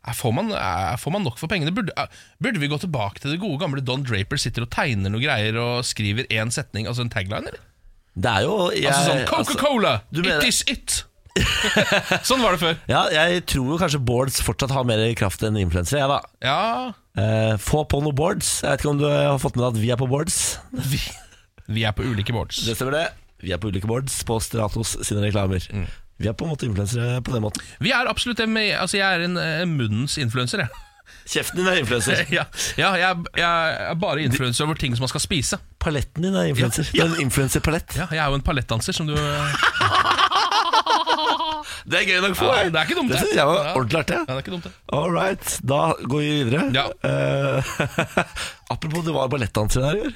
B: Er- Får man, er- får man nok for pengene? Burde, er- burde vi gå tilbake til det gode gamle Don Draper sitter og tegner noe greier og skriver én setning, altså en tagline, eller?
A: Det er jo jeg,
B: Altså sånn Coca-Cola!
A: du
B: it
A: mener-
B: is it! sånn var det før.
A: ja, jeg tror jo kanskje boards fortsatt har mer kraft enn influensere, jeg, da.
B: Ja,
A: Eh, få på noen boards. Jeg vet ikke om du har fått med deg at vi er på boards?
B: vi, vi er på ulike boards.
A: Det stemmer det. Vi er på ulike boards på Stratos sine reklamer.
B: Mm.
A: Vi er på en måte influensere på den måten.
B: Vi er absolutt en, altså jeg er en, en munnens influenser, jeg.
A: Kjeften din er influenser.
B: Ja, ja jeg, er- jeg er bare influenser over ting som man skal spise.
A: Paletten din er influenser.
B: Ja.
A: Det er en influenserpalett.
B: Ja, jeg er jo en palettdanser, som du eh, ja,
A: Det er gøy nok
B: Ja, det er ikke dumt,
A: Det
B: det.
A: synes jeg var
B: Ja.
A: ordentlig artig.
B: Det er ikke dumt, det.
A: All right, da går vi videre.
B: Ja.
A: Eh, apropos, det var ballettdansere der i år.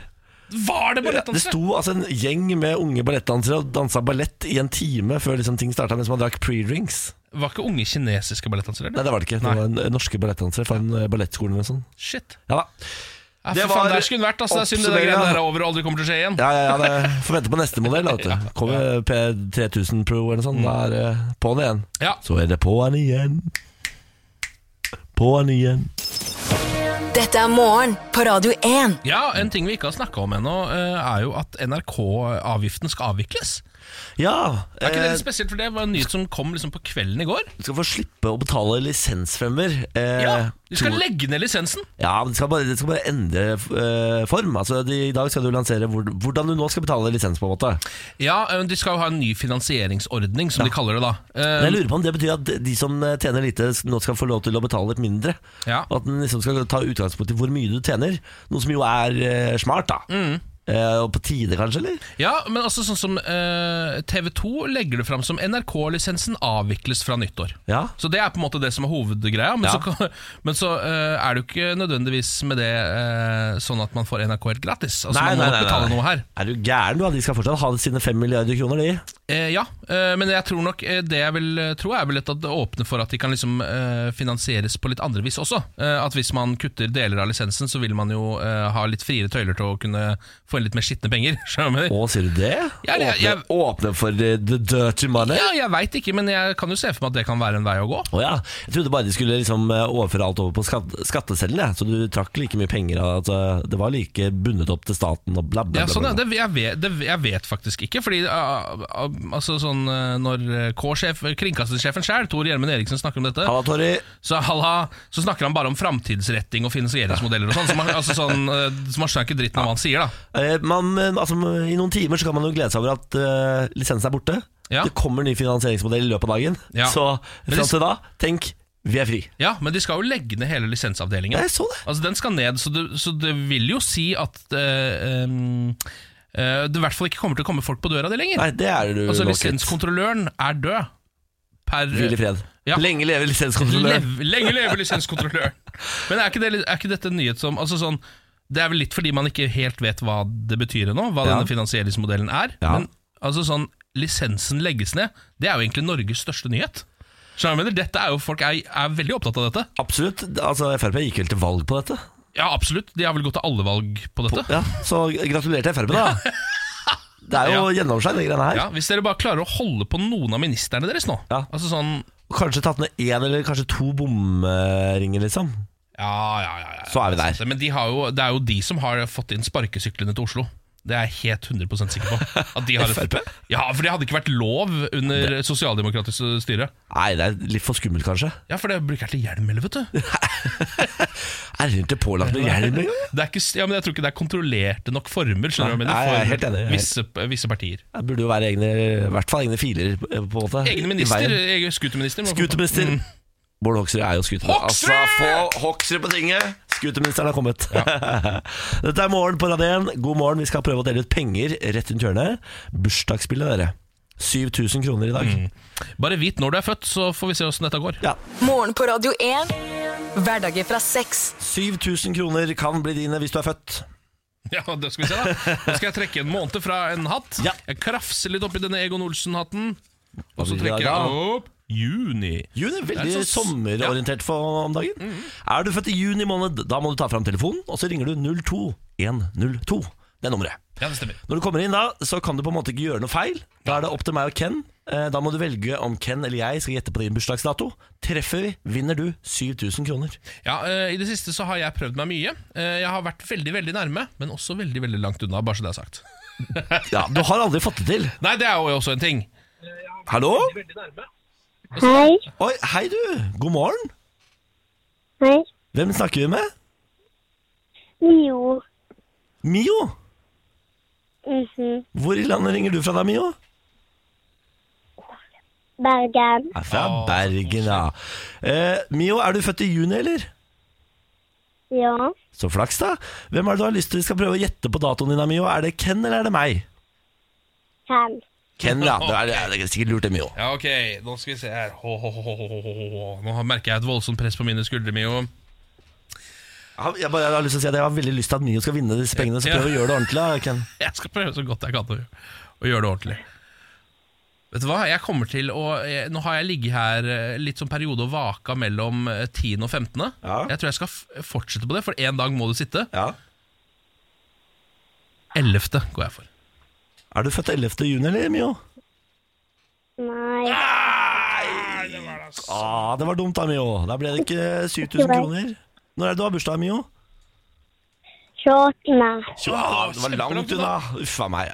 B: Var det
A: Det
B: ballettdansere?
A: sto altså en gjeng med unge ballettdansere og dansa ballett i en time før liksom ting starta, mens man drakk pre-drinks.
B: Var ikke unge kinesiske ballettdansere?
A: Nei,
B: eller?
A: det var det ikke. Det var en, eh, norske ballettdansere fra en eh, ballettskole eller noe sånt.
B: Shit.
A: Ja da.
B: Ja,
A: Det
B: det
A: var
B: faen, der skulle den vært. Altså, det er synd det der
A: oppsummering,
B: greiene
A: ja.
B: der er over og aldri kommer til å skje igjen.
A: Ja, ja, ja, det Får vente på neste modell. da, Vet du. Kommer P3000 Pro eller noe
B: Mm.
A: sånt. Da er det på'n igjen.
B: Ja.
A: Så er det på'n igjen. På'n igjen.
C: Dette er morgen på Radio 1.
B: ja, en ting vi ikke har snakka om ennå, eh, er jo at NRK-avgiften skal avvikles.
A: Ja.
B: Er ikke det
A: eh,
B: litt spesielt, for det var en nyhet som kom liksom på kvelden i går.
A: Du skal få slippe å betale lisensfremmer. Eh,
B: Ja, De skal
A: tror-
B: legge ned lisensen.
A: Ja, men det skal bare, det skal bare endre eh, form. Altså, de, I dag skal du lansere hvor, hvordan du nå skal betale lisens, på en måte.
B: Ja, eh, De skal jo ha en ny finansieringsordning, som de kaller det da. Eh,
A: Men jeg lurer på om det betyr at de- de som eh, tjener lite, s- nå skal få lov til å betale litt mindre.
B: Ja.
A: Og At den liksom skal ta utgangspunkt i hvor mye du tjener. Noe som jo er eh, smart, da.
B: Mm.
A: Eh, og på tide, kanskje? eller?
B: Ja, men altså sånn som TV 2 legger det fram som NRK-lisensen avvikles fra nyttår.
A: Ja.
B: Så det er på en måte det som er hovedgreia, men
A: Ja.
B: så, kan- men så eh, er det jo ikke nødvendigvis med det eh, sånn at man får NRK helt gratis. Altså man må nok betale noe her.
A: Er du gæren, du? da? De skal fortsatt ha sine fem milliarder kroner, de.
B: Eh, ja, eh, men jeg tror nok eh, det jeg vil eh, tro, er vel at det åpner for at de kan liksom eh, finansieres på litt andre vis også. Eh, at hvis man kutter deler av lisensen, så vil man jo eh, ha litt friere tøyler til å kunne få inn litt mer skitne penger. Skjønner du hva jeg mener?
A: Å, sier du det?
B: Ja, det-
A: åpne,
B: jeg-
A: åpne for eh, the dirty money?
B: Ja, jeg veit ikke, men jeg kan jo se for meg at det kan være en vei å gå.
A: Å ja. Jeg trodde bare de skulle liksom eh, overføre alt over på skatt skatteseddelen, jeg. så du trakk like mye penger. Altså, det var like bundet opp til staten og bla, bla, bla.
B: Ja, sånn,
A: bla.
B: ja. Det, jeg, vet, det, jeg vet faktisk ikke. Fordi ah, ah, altså, sånn, eh, Når eh, K-sjef, kringkastingssjefen sjøl, Tor Gjermund Eriksen, snakker om dette,
A: Halla, Torry.
B: så, halla, så snakker han bare om framtidsretting og finansieringsmodeller og sånn. Så man, altså, sånn, eh, så man skjønner ikke dritten av hva han sier, da.
A: Eh, man, eh, altså, I noen timer så kan man jo glede seg over at eh, lisensen er borte.
B: Ja.
A: Det kommer ny finansieringsmodell i løpet av dagen.
B: Ja.
A: Så
B: Men
A: fram
B: lis-
A: til da, tenk vi er fri.
B: Ja, Men de skal jo legge ned hele lisensavdelinga.
A: Jeg så det.
B: Altså, den skal ned, så det, så det vil jo si at eh, em, eh, det i hvert fall ikke kommer til å komme folk på døra di lenger.
A: Nei, det er du
B: altså,
A: nok litt.
B: lisenskontrolløren er død. Per,
A: Hvil i fred.
B: Ja.
A: Lenge leve lisenskontrolløren.
B: Lev, lenge leve lisenskontrolløren! Men er ikke, det, er ikke dette en nyhet som altså sånn, Det er vel litt fordi man ikke helt vet hva det betyr ennå, hva
A: Ja.
B: denne finansieringsmodellen er.
A: Ja.
B: Men altså sånn, lisensen legges ned, det er jo egentlig Norges største nyhet. Så jeg mener, dette er jo, Folk er, er veldig opptatt av dette.
A: Absolutt. Altså, Frp gikk vel til valg på dette.
B: Ja, absolutt. De har vel gått til alle valg på dette.
A: Ja, så gratulerer til Frp, da. Det er jo gjennomskein, de greiene her.
B: Ja, hvis dere bare klarer å holde på noen av ministerne deres nå
A: Ja.
B: Altså sånn
A: Kanskje tatt ned én eller kanskje to bomringer, liksom.
B: Ja, ja, ja, ja.
A: Så er vi der.
B: Men de har jo, det er jo de som har fått inn sparkesyklene til Oslo. Det er jeg helt 100 sikker på. At de har
A: FrP?
B: Ja, for det hadde ikke vært lov under sosialdemokratisk styre.
A: Nei, det er litt for skummelt, kanskje.
B: Ja, for det bruker jeg til hjelm, eller, vet du.
A: Er det ikke pålagt med hjelm engang?
B: Det er ikke, s- ja, men jeg tror ikke det er kontrollerte nok former skjønner du hva jeg mener,
A: Nei, jeg er helt
B: for
A: enig, jeg er
B: visse, visse partier.
A: Det burde jo være egne, i hvert fall egne filer, eh, på en måte.
B: Egne
A: i
B: minister,
A: veien.
B: egen skuterminister. må-
A: Skuterminister. Bård Hoksrud er jo skuterminister.
B: Hoksrud!
A: få Hoksrud på tinget! Skuterministeren har kommet. Dette er Morgen på Radio 1. God morgen. Vi skal prøve å dele ut penger rett rundt hjørnet. Bursdagsspillet, dere. 7000 kroner i dag.
B: Mm. Bare vit når du er født, så får vi se åssen dette går.
A: Ja.
C: Morgen på Radio 1. Hverdager fra seks.
A: 7000 kroner kan bli dine hvis du er født.
B: Ja, det skal vi se da Nå skal jeg trekke en måned fra en hatt.
A: Ja.
B: Jeg krafser litt oppi denne Egon Olsen-hatten. Og så
A: blir det
B: trekker
A: da?
B: jeg opp juni.
A: Juni,
B: Det
A: Veldig
B: er sånn Mm. så-
A: sommerorientert for om dagen. Er du født i juni måned, da må du ta fram telefonen, og så ringer du 02102. Det er nummeret.
B: Ja, det stemmer.
A: Når du kommer inn da, så kan du på en måte ikke gjøre noe feil. Da er det opp til meg og Ken. Eh, Da må du velge om Ken eller jeg skal gjette på din bursdagsdato. Treffer vi, vinner du 7000 kroner.
B: Ja, eh, I det siste så har jeg prøvd meg mye. Eh, jeg har vært veldig veldig nærme, men også veldig veldig langt unna. bare så det er sagt
A: Ja, Du har aldri fått det til.
B: Nei, det er jo også en ting.
A: Hallo?
E: Hei.
A: Oi, hei du. God morgen.
E: Hei.
A: Hvem snakker vi med?
E: Mio.
A: Mio.
E: Mhm.
A: Hvor i landet ringer du fra da, Mio?
E: Bergen.
A: Er fra
B: Å,
A: Bergen, ja. Eh, Mio, er du født i juni, eller?
E: Ja.
A: Så flaks, da. Hvem er det du har lyst til skal prøve å gjette på datoen din, da, Mio? Er det Ken, eller er det meg?
E: Ken.
A: Ken, ja. Det er, det er sikkert lurt, det, Mio.
B: Ja, ok, Nå skal vi se her Ho, ho, ho, ho, ho, ho, ho. Nå merker jeg et voldsomt press på mine skuldre. Mio.
A: Jeg, jeg, bare, jeg har lyst til å si at jeg har veldig lyst til at Mio skal vinne disse pengene, så
B: Ja.
A: prøv å gjøre det ordentlig. da, Ken.
B: Jeg skal prøve så godt jeg kan å, å gjøre det ordentlig. Vet du hva, jeg kommer til å jeg, Nå har jeg ligget her eh, litt sånn periode og vaka mellom eh, 10. og 15.
A: Ja.
B: Jeg tror jeg skal f fortsette på det, for en dag må du sitte.
A: Ja.
B: 11. går jeg for.
A: Er du født 11. juni, eller, Mio?
E: Nei.
A: Ah, det var dumt, da, Mio. Da ble det ikke 7000 kroner. Når er det du har bursdag, Mio?
E: 28. mars.
A: Tjo, ah, det var langt unna. Uff a meg.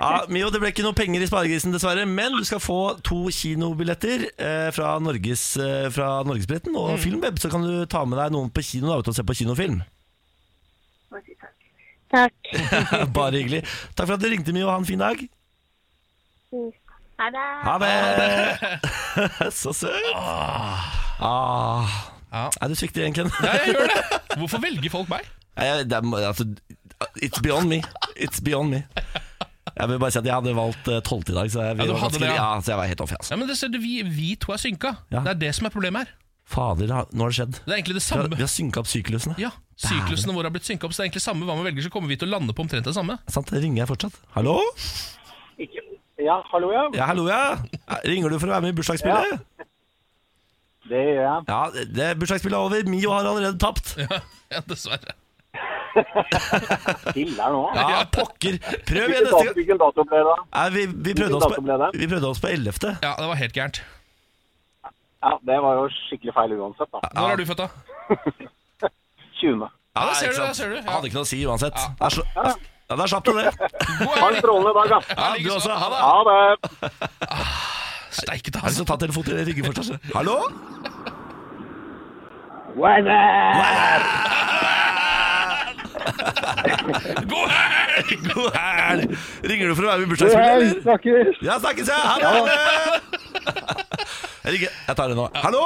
A: Ja, Mio, det ble ikke noe penger i sparegrisen, dessverre. Men du skal få to kinobilletter eh, fra, Norges, eh, fra Norgesbilletten og Filmweb. Så kan du ta med deg noen på kino da, ute og se på kinofilm.
E: Takk.
A: Bare hyggelig. Takk for at du ringte, Mio. Ha en fin dag.
E: Ha det.
A: Ha det! Så søt! Ah.
B: Ja.
A: Nei, du svikter igjen, Ken.
B: Ja, jeg gjør det. Hvorfor velger folk meg?
A: Nei, jeg- det er, altså, it's beyond me. It's beyond me. Jeg vil bare si at jeg hadde valgt eh, 12 i dag, så jeg,
B: Ja, du
A: var
B: hadde
A: ganske-
B: det, ja.
A: ja, så jeg var helt off. Altså.
B: Ja, men det ser du, vi, vi to er synka.
A: Ja.
B: Det er det som er problemet her.
A: Fader, da- nå har det skjedd.
B: Det er egentlig det
A: Vi har, vi
B: samme.
A: har synka opp syklusene.
B: Ja, Syklusene våre har blitt synka opp, så det er egentlig samme hva man velger, så kommer vi til å lande på omtrent det samme.
A: Sant, det ringer jeg fortsatt. Hallo?
F: Ja, hallo, ja.
A: Ja, hallo, ja. Ringer du for å være med i bursdagsspillet?
F: Det gjør jeg.
A: Ja, det, det- bursdagsspillet er over. Mio har allerede tapt.
B: Ja, dessverre.
F: Killer nå.
A: Ja, pokker. Prøv
F: Hvilken
A: igjen neste
F: dato,
A: gang.
F: hvilken dato ble det? da?
A: Nei, vi, vi, prøvde
F: Hvilken
A: oss
F: dato ble
A: på,
F: det?
A: vi prøvde oss på 11.
B: Ja, det var helt gærent.
F: Ja, Det var jo skikkelig feil uansett, da.
B: Når er du født, da?
F: 20.
B: Ja,
A: Nei,
B: der ser
A: ikke
B: du, der
A: sant?
B: ser du, ja.
A: Hadde ikke noe å si uansett. Der sl- Ja, der slapp du det.
F: Ha en strålende dag, da.
A: Ja, du
B: likeså.
A: også. Ha det.
F: Ha det.
A: Er
B: Steike
A: det
B: ta!
A: som tar telefonen til Rygge fortsatt? altså? Hallo?
B: God helg!
A: God helg! Ringer du for å være med i bursdagsspillet, eller?
F: Snakkes.
A: Ja, snakkes, ja! Ha det! Jeg ringer. Jeg tar det nå. Hallo?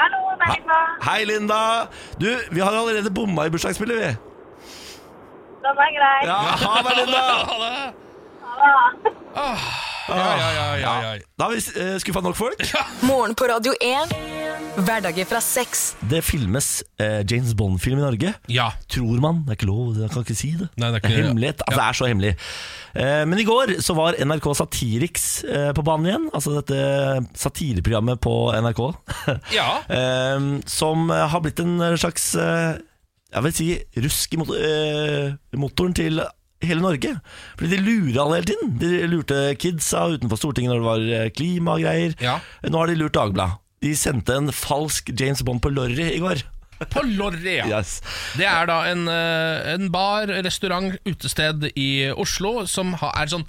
E: Hallo, Bergma.
A: Hei, Linda. Du, vi har allerede bomma i bursdagsspillet, vi.
E: Den er grei.
A: Ja, ha det, Linda!
B: Ha det! Ah, ja, ja, ja, ja, ja.
A: Da har vi eh, skuffa nok folk.
C: Morgen på Radio 1. Hverdager fra seks.
A: Det filmes eh, James Bond-film i Norge.
B: ja.
A: Tror man. Det er ikke lov, jeg kan ikke si det.
B: Nei, det er ikke-
A: hemmelighet. Altså, Det er så hemmelig. Eh, Men i går så var NRK Satiriks eh, på banen igjen. Altså dette satireprogrammet på NRK.
B: Ja.
A: Eh, Som eh, har blitt en slags eh, Jeg vil si rusk i mot- eh, motoren til hele Norge. Fordi de lurer alle hele tiden. De lurte kidsa utenfor Stortinget når det var eh, klimagreier.
B: Ja.
A: Nå har de lurt Dagbladet. De sendte en falsk James Bond på Lorry i går.
B: På Lorry, ja.
A: Yes.
B: Det er da en, eh, en bar, restaurant, utested i Oslo som ha- er sånn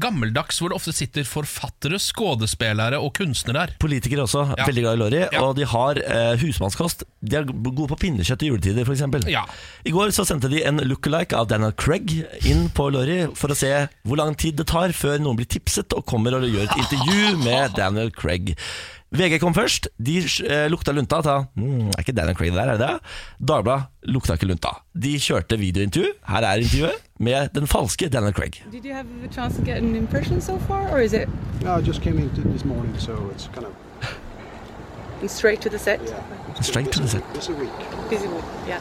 B: gammeldags, hvor det ofte sitter forfattere, skuespillere og kunstnere her.
A: Politikere også,
B: Ja.
A: veldig glad i Lorry.
B: Ja.
A: Og de har eh, husmannskost. De er gode på pinnekjøtt i juletider, f.eks.
B: Ja.
A: I går så sendte de en lookalike av Daniel Craig inn på Lorry for å se hvor lang tid det tar før noen blir tipset og kommer og gjør et intervju med Daniel Craig. VG kom først. De eh, lukta lunta og sa mm, er ikke Daniel Craig der, er det det? Dagbladet lukta ikke lunta. De kjørte videointervju. Her er intervjuet med den falske Daniel Craig.
G: Did you have a chance to get an impression so far, or is it
H: No, I just came in t- this morning, so it's kind of
G: straight to the set?
H: yeah.
A: Straight to the set.
H: It's a week.
G: Busy week, yeah.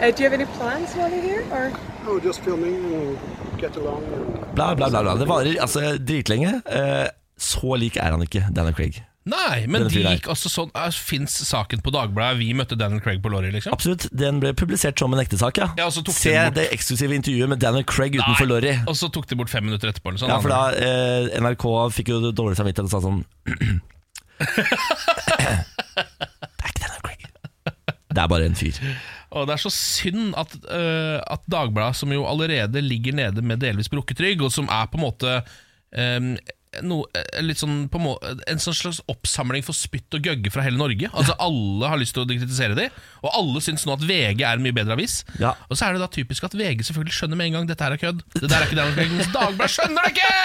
G: Uh, do you have any plans while you're here? Or
H: Oh, just filming and get along. And
A: Bla, bla, bla. bla. Det varer altså dritlenge. Eh, så lik er han ikke, Daniel Craig.
B: Nei, men
A: Denne
B: de
A: fyren her.
B: gikk altså sånn Fins saken på Dagbladet? Vi møtte Daniel Craig på Lorry, liksom?
A: Absolutt. Den ble publisert som en ektesak, ja.
B: Ja, og så tok
A: Se
B: de den bort.
A: det eksklusive intervjuet med Daniel Craig utenfor
B: Nei,
A: Lorry.
B: Og så tok de bort fem minutter etterpå. Eller sånn,
A: Ja, for da eh, NRK fikk jo dårlig samvittighet og sa sånn Det er ikke Daniel Craig. Det er bare en fyr.
B: Og det er så synd at, uh, at Dagbladet, som jo allerede ligger nede med delvis brukket rygg, og som er på en måte ehm, no, eh, litt sånn på en må, En sånn slags oppsamling for spytt og gøgge fra hele Norge. Altså Alle har lyst til å kritisere de, og alle syns nå at VG er en mye bedre avis.
A: Ja.
B: Og så er det da typisk at VG selvfølgelig skjønner med en gang dette her er kødd. Det der er ikke Daniel Craig, mens Dagbladet skjønner det ikke!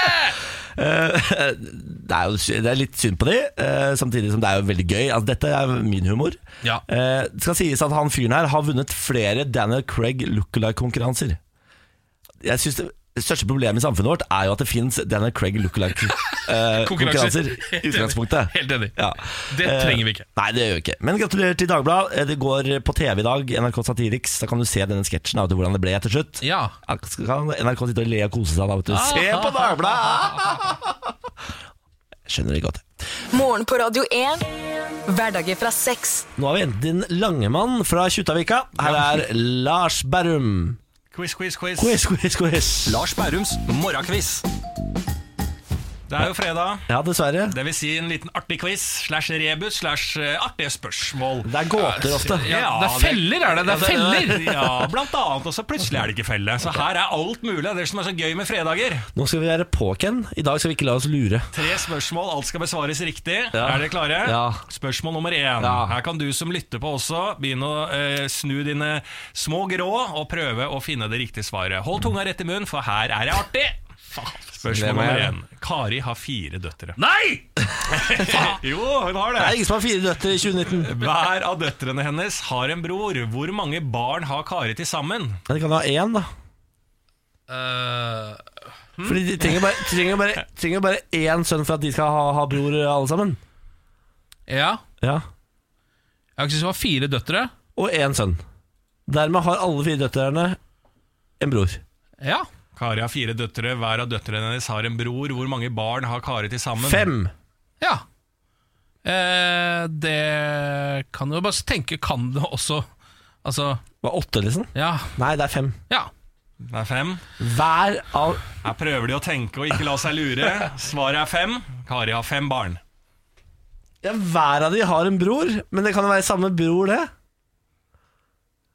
A: Det er, jo, sy- det er litt synd på de, eh, samtidig som det er jo veldig gøy. Altså, dette er min humor.
B: Ja.
A: Eh, det skal sies at han fyren her har vunnet flere Daniel Craig lookalike-konkurranser. Jeg synes det det største problemet i samfunnet vårt er jo at det fins Daniel Craig lookalike-konkurranser.
B: Konkurranser.
A: i utgangspunktet.
B: Helt enig.
A: Ja.
B: Det
A: Eh,
B: trenger vi ikke.
A: Nei, det gjør vi ikke. Men gratulerer til Dagbladet. Eh, Det går på TV i dag, NRK Satiriks. Da kan du se denne sketsjen av hvordan det ble til slutt.
B: Ja.
A: Ja, Så kan NRK sitte og le og kose seg da, vet du. Se på Dagbladet! Jeg Skjønner det godt.
C: Morgen på Radio 1. Hverdager fra seks.
A: Nå har vi hentet inn Langemann fra Kjuttaviga. Her er Lars Berrum.
I: Quiz, quiz, quiz.
A: Quiz, quiz, quiz.
I: Lars Bærums morgenquiz. Det er jo fredag.
A: Ja, dessverre.
I: Det vil si en liten artig quiz slash rebus slash eh, artige spørsmål.
A: Det er gåter ofte.
B: Ja, det er feller, er det? Det er feller!
I: Ja, blant annet. Og så plutselig er det ikke felle. Så her er alt mulig. Det er det som er så gøy med fredager.
A: Nå skal vi være på, Ken. I dag skal vi ikke la oss lure.
I: Tre spørsmål, alt skal besvares riktig.
A: Ja.
I: Er dere klare?
A: Ja.
I: Spørsmål nummer én.
A: Ja.
I: Her kan du som lytter på også begynne å eh, snu dine små grå og prøve å finne det riktige svaret. Hold tunga rett i munnen, for her er det artig! Spørsmål
A: Hvem er
I: nummer
A: det?
I: én. Kari har fire døtre.
B: Nei!
I: Jo, hun
A: Det
I: har det!
A: er ingen som har fire døtre i 2019.
I: Hver av døtrene hennes har en bror. Hvor mange barn har Kari til sammen?
A: Men de kan ha én, da.
B: Eh,
A: Fordi de trenger bare, trenger bare, trenger bare én sønn for at de skal ha, ha bror, alle sammen.
B: ja.
A: Ja.
B: Jeg har ikke syntes det var fire døtre.
A: Og én sønn. Dermed har alle fire døtrene en bror.
B: Ja.
I: Kari har fire døtre. Hver av døtrene hennes har en bror. Hvor mange barn har Kari til sammen?
A: Fem.
B: Ja. Eh, det kan jo bare tenke Kan det også Altså,
A: Var åtte, liksom?
B: ja.
A: Nei, det er fem.
B: ja.
I: Det er fem.
A: Hver av
I: Her prøver de å tenke og ikke la seg lure. Svaret er fem. Kari har fem barn.
A: ja, Hver av de har en bror, men det kan jo være samme bror, det.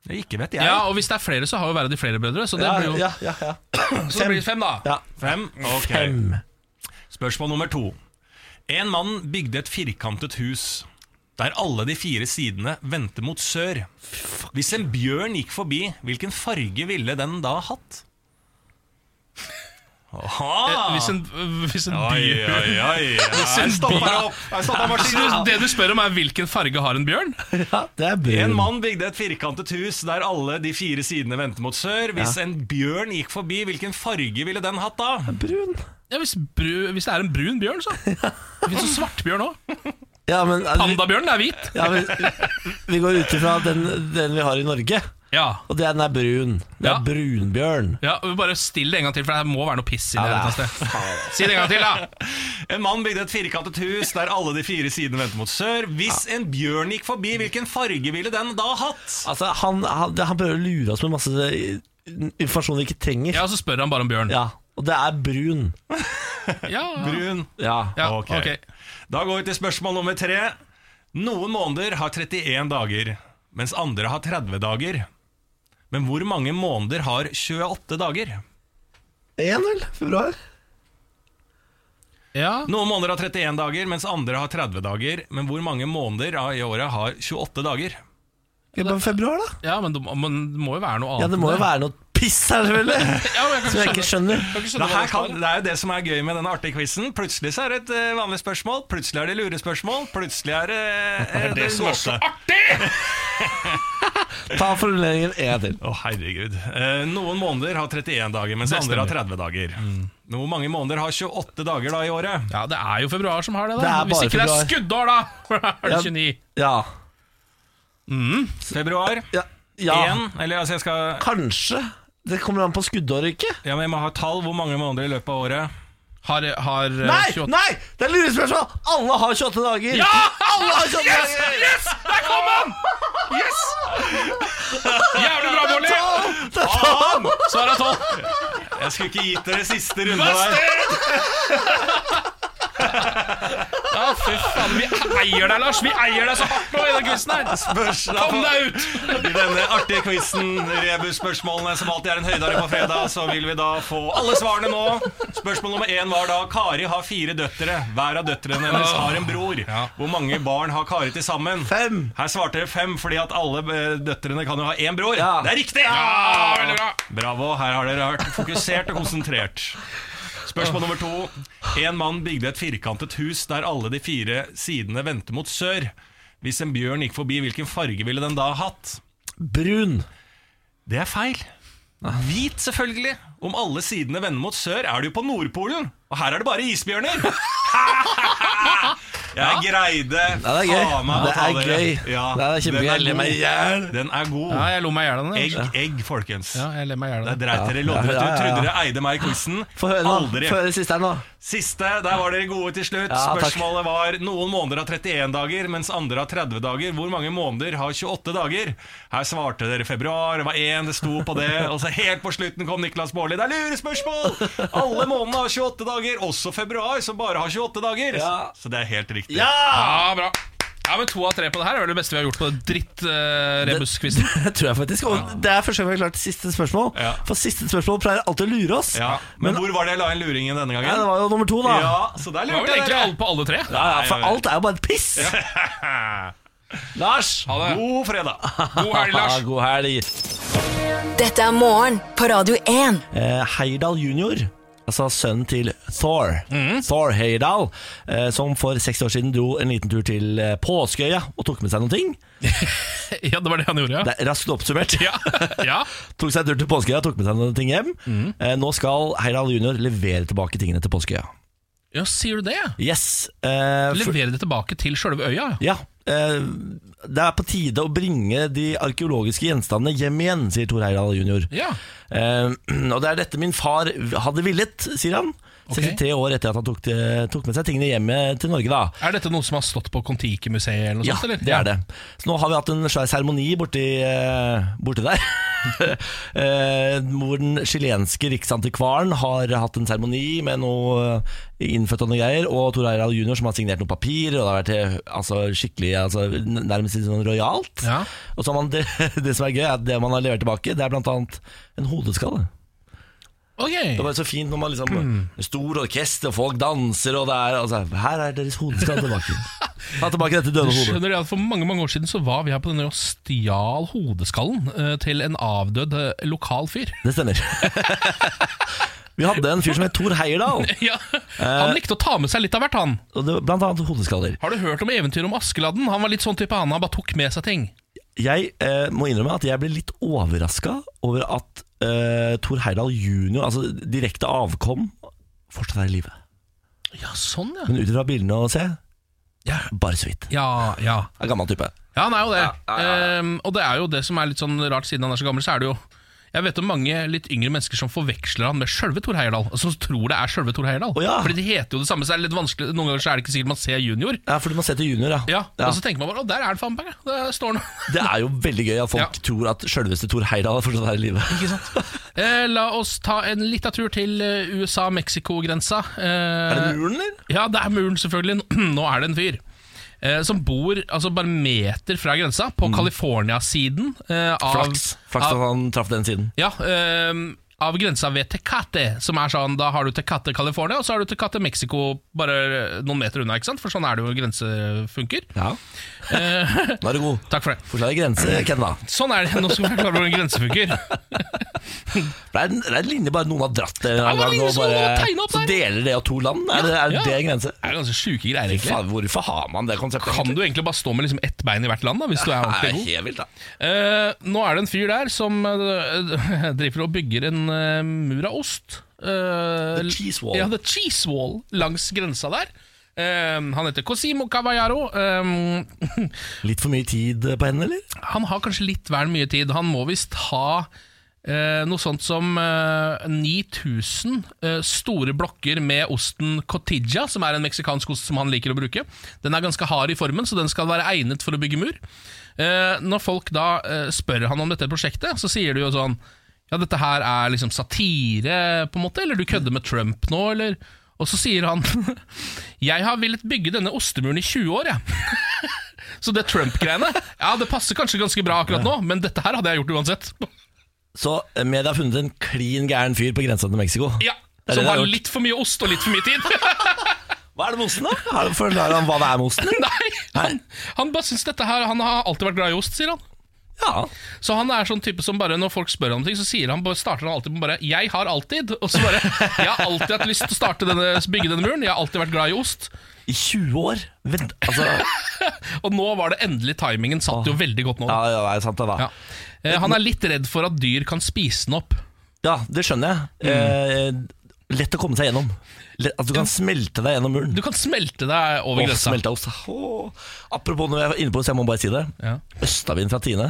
I: Det ikke vet jeg.
B: ja. Og hvis det er flere, så har jo hver av de flere brødre. Så det
A: Ja,
B: blir jo
A: ja, ja, ja.
B: så det blir fem, da.
A: Ja.
I: Fem. Ok.
A: Fem.
I: Spørsmål nummer to. En mann bygde et firkantet hus der alle de fire sidene vendte mot sør. Hvis en bjørn gikk forbi, hvilken farge ville den da hatt? Aha!
B: Eh, Hvis en, hvis en
I: Oi,
B: bjørn
I: oi, oi. Her stopper det opp. Her
B: Så
I: stopper
B: du,
I: maskinen.
B: det du spør om, er hvilken farge har en bjørn?
A: Ja, det er brun.
I: En mann bygde et firkantet hus der alle de fire sidene vendte mot sør. Hvis en bjørn gikk forbi, hvilken farge ville den hatt da?
A: Brun.
B: Ja, hvis, bru, hvis det er en brun bjørn, så. Det fins jo svartbjørn òg.
A: Ja, men, altså,
B: Pandabjørnen er hvit.
A: ja, men Vi går ut ifra den, den vi har i Norge,
B: Ja.
A: og den er brun. Det er
B: Ja.
A: brunbjørn.
B: ja og Bare still det en gang til, for det må være noe piss inni
A: Ja,
B: her.
A: det er- altså.
B: et eller annet sted. Si det en gang til, da.
I: En mann bygde et firkantet hus der alle de fire sidene vendte mot sør. Hvis en bjørn gikk forbi, hvilken farge ville den da hatt?
A: Altså, han, han, han prøver å lure oss med masse eh, informasjon vi ikke trenger.
B: Ja, Så spør han bare om bjørn.
A: Ja, Og det er brun.
B: Ja,
I: Brun.
A: Ja.
B: ja
I: Ok.
B: ok.
I: Da går vi til spørsmål nummer tre. Noen måneder har 31 dager, mens andre har 30 dager. Men hvor mange måneder har 28 dager?
A: Én, vel? Februar?
B: Ja.
I: Noen måneder har 31 dager, mens andre har 30 dager. Men hvor mange måneder av- i året har 28 dager?
A: Ja, men februar, da?
B: Ja, men det, men det må jo være noe annet.
A: Ja, det må jo være noe piss her, selvfølgelig!
B: ja, men jeg kan
A: Som jeg ikke skjønner.
B: jeg kan ikke
I: Det,
B: skjønne hva
I: her
B: det
I: kan,
B: står.
I: det er jo det som er gøy med den artige quizen. Plutselig så er det et eh, vanlig spørsmål, plutselig er det lurespørsmål, plutselig er det eh,
B: det
I: en
B: som er
I: gåte.
B: så
A: Ta formuleringen en gang til.
I: Å, herregud. Eh, noen måneder har 31 dager, mens
B: Det
I: andre har
B: stemmer. Mm.
I: 30 dager. Men Hvor mange måneder har 28 dager da i året?
B: Ja, det er jo februar som har det, da.
A: Det er
B: Hvis
A: bare
B: ikke det
A: februar.
B: er skuddår, da! For da er det
A: Ja.
B: 29.
A: Ja.
I: Februar.
A: ja. Ja.
I: Én, eller altså jeg skal
A: Kanskje. Det kommer an på skuddåret, ikke?
I: Ja, men jeg må ha et tall. Hvor mange måneder i løpet av året?
B: Har, har eh,
A: Nei!
B: 28
A: nei, Det er lurespørsmål! Alle har 28 dager!
B: Ja!
A: Alle har 28
B: Yes!
A: dager!
B: Yes! Der kom han! Yes! Jævlig bra, Molly!
I: Faen! Svar er tolv. Jeg skulle ikke gitt dere siste runde der.
B: Ja, fy faen, vi eier deg, Lars. Vi eier deg så hardt nå i den quizen her.
I: Spørsmål
B: Kom deg ut!
I: I denne artige quizen, rebusspørsmålene som alltid er en høydare på fredag, så vil vi da få alle svarene nå. Spørsmål nummer én var da Kari har fire døtre. Hver av døtrene hennes har en bror. Hvor mange barn har Kari til sammen?
A: Fem.
I: Her svarte dere fem, fordi at alle eh, døtrene kan jo ha én bror.
A: Ja.
I: Det er riktig!
B: Ja, veldig bra.
I: Bravo. Her har dere vært fokusert og konsentrert. Spørsmål nummer to. En mann bygde et firkantet hus der alle de fire sidene vendte mot sør. Hvis en bjørn gikk forbi, hvilken farge ville den da hatt?
A: Brun.
I: Det er feil. Hvit, selvfølgelig. Om alle sidene vender mot sør, er du på Nordpolen. Og her er det bare isbjørner. Jeg greide
A: Ja, det er gøy.
I: faen meg å
A: Det
I: ta
A: er
I: dere.
A: gøy.
I: Ja,
A: Det er kjempegøy. Jeg ler meg i hjel.
I: god. Den er god.
B: Ja, jeg lo meg i hjel av den.
I: Egg, egg, folkens.
B: Ja, jeg ler meg i hjel
I: Der
B: av den.
I: dreit dere
A: Ja, ja, ja,
I: loddrett ut.
A: ja.
I: Trodde dere eide meg i quizen.
A: Få høre nå.
I: Aldri.
A: Få høre siste her nå.
I: Siste, der var dere gode til slutt.
A: Ja, takk.
I: Spørsmålet var noen måneder har 31 dager, mens andre har 30 dager. Hvor mange måneder har 28 dager? Her svarte dere februar, det var én, det sto på det. Og så helt på slutten kom Niklas Baarli. Det er lurespørsmål! Alle månedene har 28 dager, også februar, som bare har 28 dager.
A: Ja.
I: Så det er helt riktig.
B: Ja, bra. Ja, men To av tre på det her er vel det beste vi har gjort på eh, den dritt-rebus-quizen.
A: Det tror jeg faktisk. Og det er første gang vi har klart siste spørsmål.
I: Ja.
A: For siste spørsmål pleier alltid å lure oss.
I: Ja, Men, hvor var det jeg la inn luringen denne
A: Nei, det
I: gangen?
A: var jo nummer to, da.
I: Ja, så der
B: det var vel
I: lurte jeg
B: egentlig
I: dere.
B: alle på alle tre.
A: Ja, ja, for alt er jo bare et piss. Lars.
B: Ha det.
I: God fredag.
B: God helg, Lars.
A: Ja, god helg.
C: Dette er morgen på Radio 1.
A: Eh, Heyerdahl junior, altså sønnen til Thor,
B: Mhm.
A: Thor Heyerdahl, eh, som for 60 år siden dro en liten tur til eh, Påskeøya og tok med seg noen ting.
B: Ja, det var det han gjorde, ja.
A: Det er raskt oppsummert.
B: Ja, ja.
A: Tok seg en tur til Påskeøya, tok med seg noen ting hjem.
B: Mhm.
A: Eh, nå skal Heyerdahl junior levere tilbake tingene til Påskeøya.
B: ja sier du det? ja?
A: Yes. Eh, for-
B: Levere det tilbake til sjølve øya? ja.
A: ja. Eh, det er på tide å bringe de arkeologiske gjenstandene hjem igjen, sier Thor Heyerdahl junior.
B: Ja.
A: Eh, og det er dette min far hadde villet, sier han.
B: Ok.
A: 63 år etter at han tok, det- tok med seg tingene hjem eh, til Norge, da.
B: Er dette noe som har stått på Kon-Tiki-museet? eller noe
A: Ja,
B: sånt? eller?
A: det er det. Så nå har vi hatt en svær seremoni borti, eh, borti der. Eh, Hvor den chilenske riksantikvaren har hatt en seremoni med noe innfødt og noe greier. Og Tor Eiral jr. som har signert noen papirer. Og det har vært eh, altså, skikkelig altså, n- Nærmest litt sånn rojalt.
B: Ja.
A: Og så har man det, det som er gøy, er at det man har levert tilbake, det er blant annet en hodeskalle. Det
B: Ok,
A: var så fint når man liksom
B: Mm.
A: Det er Stor orkester, og folk danser, og det er altså, Her er deres hodeskall tilbake. Ta tilbake dette døde hodet.
B: Skjønner du at For mange mange år siden så var vi her på denne og stjal hodeskallen eh, til en avdød eh, lokal fyr.
A: Det stemmer. Vi hadde en fyr som het Thor Heyerdahl,
B: Ja, Han likte å ta med seg litt av hvert, han.
A: og det, var blant annet hodeskaller.
B: Har du hørt om eventyret om Askeladden? Han var litt sånn type han, han bare tok med seg ting.
A: Jeg eh, må innrømme at jeg ble litt overraska over at eh, Thor Heyerdahl jr., altså direkte avkom, fortsatt er i live.
B: Ja, sånn, ja.
A: Men ut ifra bildene å se,
B: Ja,
A: bare så vidt.
B: ja. ja.
A: Er gammel type.
B: Ja, han er jo det. Ehm, og det er jo det som er litt sånn rart, siden han er så gammel, så er det jo jeg vet om mange litt yngre mennesker som forveksler han med sjølve Thor Heyerdahl. Altså, som tror det er sjølve Thor Heyerdahl.
A: Å, ja.
B: Fordi de heter jo det samme, så er det litt vanskelig Noen ganger så er det ikke sikkert man ser junior.
A: Ja, fordi man ser til junior, ja.
B: Ja, Og så tenker man bare 'Å, der er det faen meg'. Der står han.
A: Det er jo veldig gøy at folk
B: Ja.
A: tror at sjølveste Thor Heyerdahl fortsatt er i live.
B: Eh, la oss ta en lita tur til eh, USA-Mexico-grensa. Eh,
A: Er det muren, eller?
B: Ja, det er muren, selvfølgelig. Nå er det en fyr. eh, Som bor altså bare meter fra grensa, på California-siden eh,
A: Mm.
B: av
A: Flaks. Flaks
B: av-
A: at han traff den siden.
B: Ja, ehm, av grensa ved Tecate, som er sånn, da har du Tecate California, og så har du Tecate Mexico bare eh, noen meter unna, ikke sant? For sånn er det jo grensefunker.
A: Ja. Nå er du god.
B: Eh, Takk for det.
A: Forslag grense, Ken, da.
B: Sånn er det, nå skal vi forklare hvordan grense funker.
A: Det er, en- det er en linje bare noen har dratt det en
B: Ja, det var
A: gang,
B: ingen
A: og
B: som hadde tegnet opp
A: så
B: der.
A: deler det av to land. Er det, er
B: Ja.
A: det en grense?
B: Det er ganske sjuke greier, egentlig.
A: Faen, hvorfor har man det konseptet?
B: Kan du egentlig bare stå med liksom ett bein i hvert land, da, hvis du er
A: det er
B: ordentlig god?
A: helt vilt, da.
B: Eh, nå er det en fyr der som eh, driver og bygger en eh, mur av ost. Eh,
A: The cheese wall.
B: Ja, the cheese wall langs grensa der. Eh, han heter Cosimo Cavallaro. Eh,
A: Litt for mye tid på henne, eller?
B: han har kanskje litt vel mye tid. Han må visst ha eh, noe sånt som eh, 9000 eh, store blokker med osten cotija, som er en meksikansk ost som han liker å bruke. Den er ganske hard i formen, så den skal være egnet for å bygge mur. Eh, når folk da eh, spør han om dette prosjektet, så sier du jo sånn Ja, dette her er liksom satire, på en måte, eller du kødder med Trump nå, eller Og så sier han Jeg har villet bygge denne ostemuren i 20 år, jeg. Så det Trump-greiene Ja, det passer kanskje ganske bra akkurat nå, men dette her hadde jeg gjort uansett.
A: Så eh, media har funnet en klin gæren fyr på grensa til Mexico.
B: Ja,
A: Det er det
B: Som
A: jeg har
B: har
A: gjort.
B: litt for mye ost og litt for mye tid.
A: Hva er det med osten, da? Har- Forklarer han hva det er med osten?
B: Nei, han, han bare syns dette her Han har alltid vært glad i ost, sier han.
A: Ja.
B: Så han er sånn type som bare når folk spør om ting, så sier han bare, starter han alltid med bare 'jeg har alltid'. Og så bare 'jeg har alltid hatt lyst til å starte denne, bygge denne muren', 'jeg har alltid vært glad i ost'.
A: I 20 år? Vent, altså
B: Og nå var det endelig timingen satt jo veldig godt nå.
A: Ja, ja, det er sant det, da.
B: Ja. Eh, Han er litt redd for at dyr kan spise den opp.
A: Ja, det skjønner jeg. Eh, lett å komme seg gjennom. Lett, altså, du kan smelte deg gjennom muren.
B: Du kan smelte deg over
A: Åh,
B: grensa.
A: smelte ost. Åh. Apropos når jeg var inne på det, så jeg må bare si det.
B: Ja.
A: Østavin fra Tine.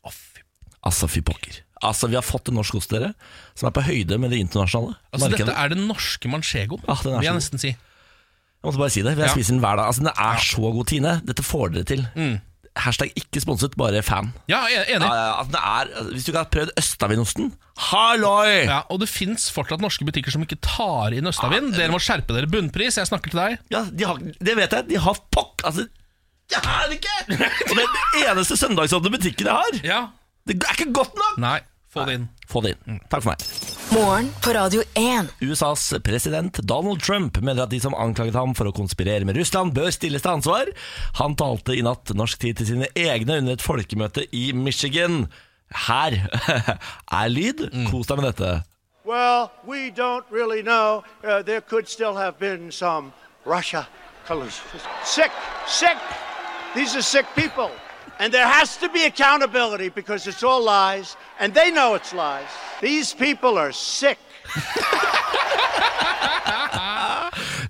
B: Å, fy-
A: Altså, fy pokker. Altså, Vi har fått en norsk ost, dere, som er på høyde med det internasjonale
B: Altså,
A: markedet.
B: dette er den norske manchegoen,
A: Ah, den er
B: vil jeg
A: så god.
B: nesten si.
A: Jeg måtte bare si det. for Jeg
B: Ja. Mm.
A: spiser den hver dag. Altså, Den er så god, Tine. Dette får dere til. Hashtag ikke sponset, bare fan.
B: Ja, jeg er enig.
A: Ja, ja, altså, det er, altså, hvis du ikke har prøvd Østavinosten, halloi!
B: Ja, og det fins fortsatt norske butikker som ikke tar inn
A: Ah,
B: østavind. Dere må skjerpe dere. Bunnpris, jeg snakker til deg.
A: Ja, de har, det vet jeg. De har pokk Altså, jeg har det ikke! Og det er den eneste søndagsåpne butikken jeg har.
B: Ja.
A: Det er ikke godt nok!
B: Nei, få det inn.
A: Få det inn. Takk for meg.
C: Morgen på Radio 1.
A: USAs president Donald Trump mener at de som anklaget ham for å konspirere med Russland, bør stilles til ansvar. Han talte i natt norsk tid til sine egne under et folkemøte i Michigan. Her er lyd. Kos deg med dette.
J: Well, we don't really know. Uh, there could still have been some Russia collusion. Sick, sick. These are sick people. And there has to be accountability because it's all lies, and they know it's lies. These people are sick.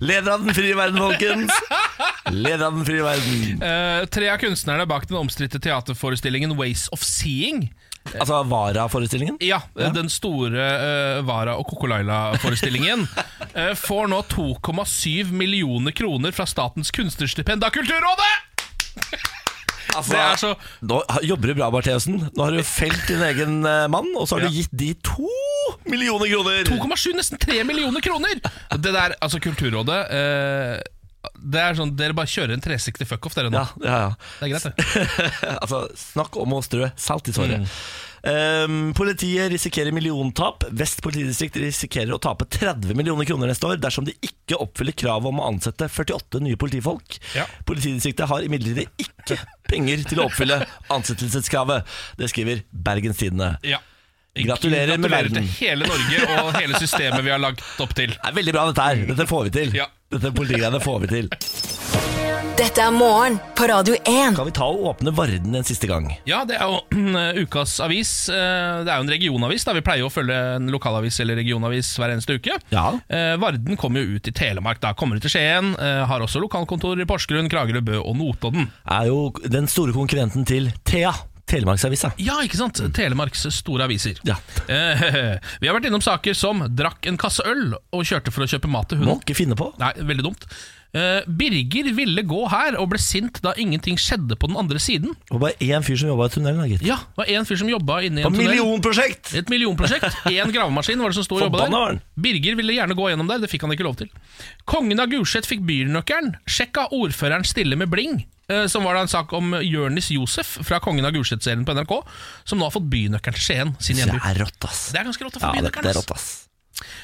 A: Leder av den frie verden, folkens. Leder av den frie verden.
B: Eh, tre av kunstnerne bak den omstridte teaterforestillingen Ways of Seeing.
A: Altså Vara-forestillingen.
B: Ja, eh, Den store eh, Vara og Kokolaila-forestillingen eh, får nå 2,7 millioner kroner fra Statens kunstnerstipend av Kulturrådet!
A: Altså,
B: Det er så
A: Nå ha- jobber du bra, Bartheussen. Nå har du felt din egen eh, mann, og så har du
B: Ja.
A: gitt de to millioner kroner.
B: 2,7, nesten 3 millioner kroner! Det der, altså Kulturrådet eh, Det er sånn, Dere bare kjører en 360 fuck-off, dere nå.
A: Ja, ja, ja.
B: Det er greit, det.
A: altså, snakk om å strø salt i såret.
B: Mm.
A: Ehm, politiet risikerer milliontap. Vest politidistrikt risikerer å tape 30 millioner kroner neste år dersom de ikke oppfyller kravet om å ansette 48 nye politifolk.
B: Ja.
A: Politidistriktet har imidlertid ikke penger til å oppfylle ansettelseskravet. Det skriver Bergens Tidende.
B: Ja.
A: Gratulerer med verden.
B: til hele Norge og hele systemet vi har lagt opp til.
A: Det er veldig bra, dette her. Dette får vi til.
B: Ja.
A: Dette politigreiene får vi til.
C: Dette er morgen på Radio 1.
A: Kan vi ta og åpne Varden en siste gang?
B: Ja, det er jo ukas avis. Eh, Det er jo en regionavis. da Vi pleier jo å følge en lokalavis eller regionavis hver eneste uke.
A: Ja.
B: Eh, Varden kommer jo ut i Telemark. da Kommer ut til Skien. eh, Har også lokalkontor i Porsgrunn, Kragerø, Bø og Notodden.
A: Er jo den store konkurrenten til Thea, Telemarksavisa.
B: Ja, ikke sant? Telemarks store aviser.
A: Ja.
B: Eh, Vi har vært innom saker som drakk en kasse øl og kjørte for å kjøpe mat til
A: Må
B: hunden.
A: ikke finne på.
B: Nei, veldig dumt. Eh, Birger ville gå her og ble sint da ingenting skjedde på den andre siden.
A: Det var bare én fyr som jobba i tunnelen. da, gitt.
B: Ja, det var en fyr som jobba inni
A: Det
B: en
A: var
B: tunnel.
A: millionprosjekt!
B: Et millionprosjekt. Én gravemaskin var det som sto og jobba
A: Forbanna var
B: der.
A: den.
B: Birger ville gjerne gå gjennom der, det fikk han ikke lov til. Kongen av Gulset fikk bynøkkelen. Sjekk av ordføreren stille med bling. eh, Som var da en sak om Jørnis Josef fra Kongen av Gulset-serien på NRK, som nå har fått bynøkkelen til Skien, sin
A: Det
B: hjemby.
A: er rått, ass.
B: Det er ganske rått å
A: Ja,
B: få
A: det, det er
B: bynøkkelen. ass.
A: rått, ass.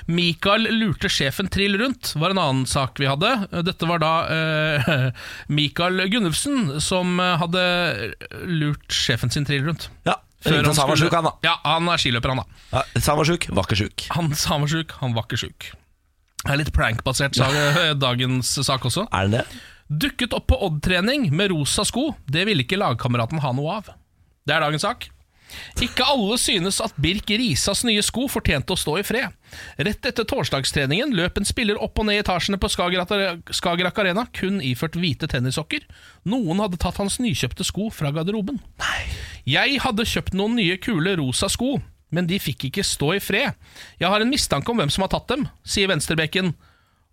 B: Mikael lurte sjefen trill rundt, var en annen sak vi hadde. Dette var da eh, Mikael Gunnufsen som eh, hadde lurt sjefen sin trill rundt.
A: Ja, Ringte og sa han var sjuk, han, da.
B: Ja, han er skiløper, han da.
A: Ja, sa han var sjuk, var ikke sjuk.
B: Han sa han var sjuk, han var ikke sjuk. Det er litt prank-basert sa- dagens sak også.
A: Er den det?
B: Dukket opp på Odd-trening med rosa sko. Det ville ikke lagkameraten ha noe av. Det er dagens sak. Ikke alle synes at Birk Risas nye sko fortjente å stå i fred. Rett etter torsdagstreningen løp en spiller opp og ned i etasjene på Skagerrak Skagerrak Arena, kun iført hvite tennissokker. Noen hadde tatt hans nykjøpte sko fra garderoben. Jeg hadde kjøpt noen nye kule rosa sko, men de fikk ikke stå i fred. Jeg har en mistanke om hvem som har tatt dem, sier venstrebekken.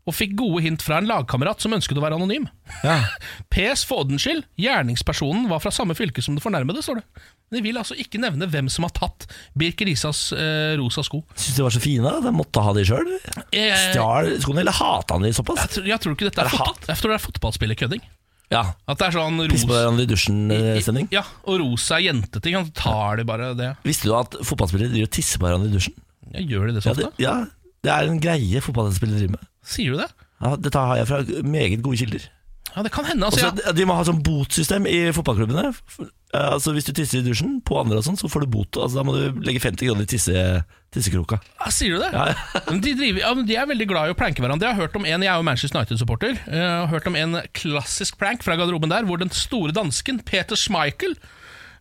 B: Og fikk gode hint fra en lagkamerat som ønsket å være anonym. PS for ordens skyld, gjerningspersonen var fra samme fylke som det fornærmede, står det. Men de vil altså ikke nevne hvem som har tatt Birk Risas eh, rosa sko.
A: Syns de var så fine? da? De måtte ha de sjøl?
B: Eh,
A: Stjal skoene, eller hata han de såpass?
B: Jeg, tror- jeg tror ikke dette er, fotball, jeg tror det er fotballspillerkødding.
A: Ja.
B: At det er sånn
A: Pisse på eh,
B: rosa
A: hverandre i dusjen-sending.
B: Ja, og rosa er jenteting. Han tar det bare det.
A: Visste du at fotballspillere driver og tisser på hverandre i dusjen?
B: Ja, gjør de det så
A: Ja,
B: ofte?
A: det, ja, det er en greie fotballspillere driver med.
B: Sier du det?
A: Ja, dette har jeg fra meget gode kilder.
B: Ja, det kan hende.
A: Og
B: Altså,
A: så
B: ja.
A: de- De må ha sånn botsystem i fotballklubbene. F- eh, Altså Hvis du tisser i dusjen på andre, og sånn så får du bot. Altså Da må du legge 50 kroner i tisse, tissekroka.
B: Ja, sier du det?
A: Ja, ja.
B: Men de, driver, ja, men de er veldig glad i å planke hverandre. Jeg har hørt om en, jeg er jo Manchester United-supporter. eh, Jeg har hørt om en klassisk prank fra garderoben der, hvor den store dansken Peter Schmeichel,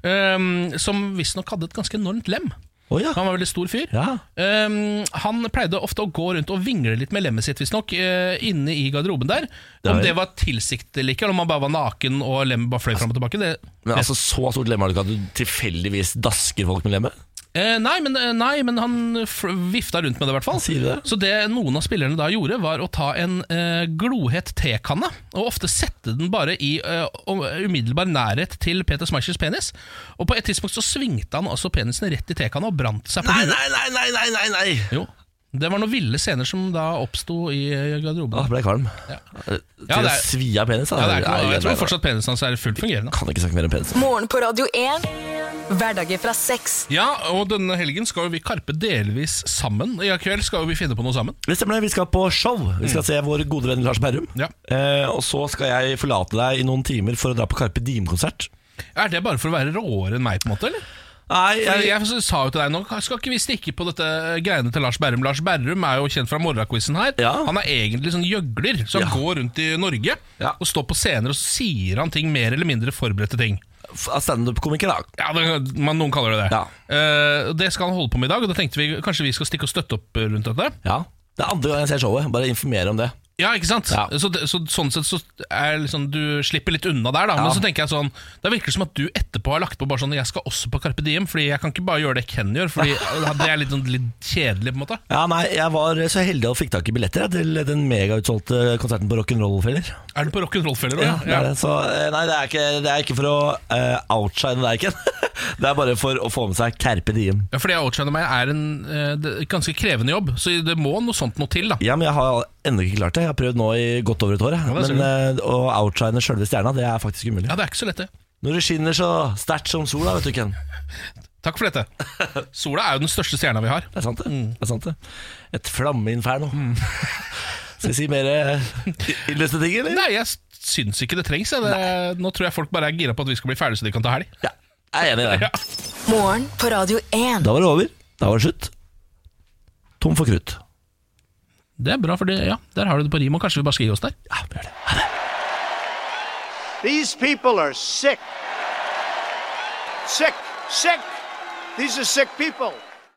B: eh, som visstnok hadde et ganske enormt lem
A: Å ja.
B: Han var en veldig stor fyr.
A: ja.
B: Eh, han pleide ofte å gå rundt og vingle litt med lemmet sitt, visstnok, uh, inne i garderoben der.
A: Ja,
B: Om
A: vel.
B: det var tilsiktet eller ikke, eller om han bare var naken og lemmet bare fløy fram og tilbake, det
A: Men altså så stort lemme har du ikke at du tilfeldigvis dasker folk med lemmet?
B: Eh, nei, men, eh, nei, men han f- vifta rundt med det, i hvert fall.
A: Sier du det?
B: Så det noen av spillerne da gjorde, var å ta en eh, glohet tekanne, og ofte sette den bare i eh, om- umiddelbar nærhet til Peter Schmeichels penis. Og på et tidspunkt så svingte han også penisen rett i tekanna og brant seg på
A: Nei,
B: huet.
A: nei, nei, nei, nei, nei, nei.
B: Jo. Det var noen ville scener som da oppsto i
A: Ah,
B: eh, garderoben.
A: ble jeg kvalm.
B: Ja.
A: Eh,
B: Ja,
A: Til
B: det
A: å
B: er-
A: svi av penis? da.
B: Ja, det er ikke
A: Nei,
B: noe, jeg
A: nei,
B: tror
A: nei.
B: fortsatt penisen hans er fullt fungerende.
A: Kan ikke snakke mer om penis.
C: Morgen på Radio 1. Hverdager fra seks.
B: Ja, og denne helgen skal jo vi karpe delvis sammen. I kveld skal jo vi finne på noe sammen.
A: Det stemmer det, vi skal på show. Vi skal se vår gode venn Lars Berrum.
B: Mm. Ja.
A: Eh, og så skal jeg forlate deg i noen timer for å dra på Carpe Diem-konsert.
B: Er det bare for å være råere enn meg, på en måte? eller?
A: Nei,
B: Jeg, jeg sa jo til deg nå, skal ikke vi stikke på dette eh, greiene til Lars Berrum? Lars Berrum er jo kjent fra morgenquizen her.
A: Ja.
B: Han er egentlig sånn gjøgler, så han
A: Ja.
B: går rundt i Norge
A: Ja.
B: og står på scener og så sier han ting, mer eller mindre forberedte ting.
A: Standup-komiker, da.
B: Ja, det, man, Noen kaller det det.
A: Ja.
B: Eh, det skal han holde på med i dag, og da tenkte vi kanskje vi skal stikke og støtte opp rundt dette.
A: Ja. Det er andre gang jeg ser showet. Bare informere om det.
B: Ja, ikke sant?
A: Ja.
B: Så, det- så Sånn sett så er liksom, du slipper litt unna der, da. Men
A: Ja.
B: så tenker jeg sånn Da virker det som at du etterpå har lagt på bare sånn Jeg skal også på Carpe Diem, Fordi jeg kan ikke bare gjøre det Ken gjør, Fordi det er litt, sånn, litt kjedelig, på en måte.
A: Ja, nei, Jeg var så heldig og fikk tak i billetter jeg, til den megautsolgte konserten på Rock'n'Roll-feller.
B: Er du på rock'n'roll-feller òg?
A: Ja, det er det. Så, eh, nei, det er, ikke, det er ikke for å eh, outshine deg, Ken. det er bare for å få med seg Carpe Diem.
B: Ja, fordi jeg outshiner meg er en eh, det- ganske krevende jobb, så det må noe sånt noe til, da.
A: Ja, men Jeg har ennå ikke klart det. Jeg har prøvd nå i godt over et år. jeg.
B: Ja, det ser
A: men eh, Å outshine sjølve stjerna, det er faktisk umulig.
B: Ja, det er ikke så lett, det.
A: Når det skinner så sterkt som sola, vet du, Ken.
B: Takk for dette. Sola er jo den største stjerna vi har.
A: Det er sant, det. det, er sant, det. Et flammeinferno. Skal vi si mer eh, illeste Mm. ting, eller?
B: Nei, jeg s- syns ikke det trengs. Jeg. Det, nå tror jeg folk bare er gira på at vi skal bli ferdige, så de kan ta helg.
A: Ja, jeg er enig i det.
B: Ja.
C: Morgen på Radio 1.
A: Da var det over. Da var det slutt. Tom for krutt.
B: Det er bra, for det, ja, der har du det på rim, og kanskje vi bare skal gi oss der.
A: Ja, vi gjør det.
J: These people are sick. Sick, sick. These are sick people.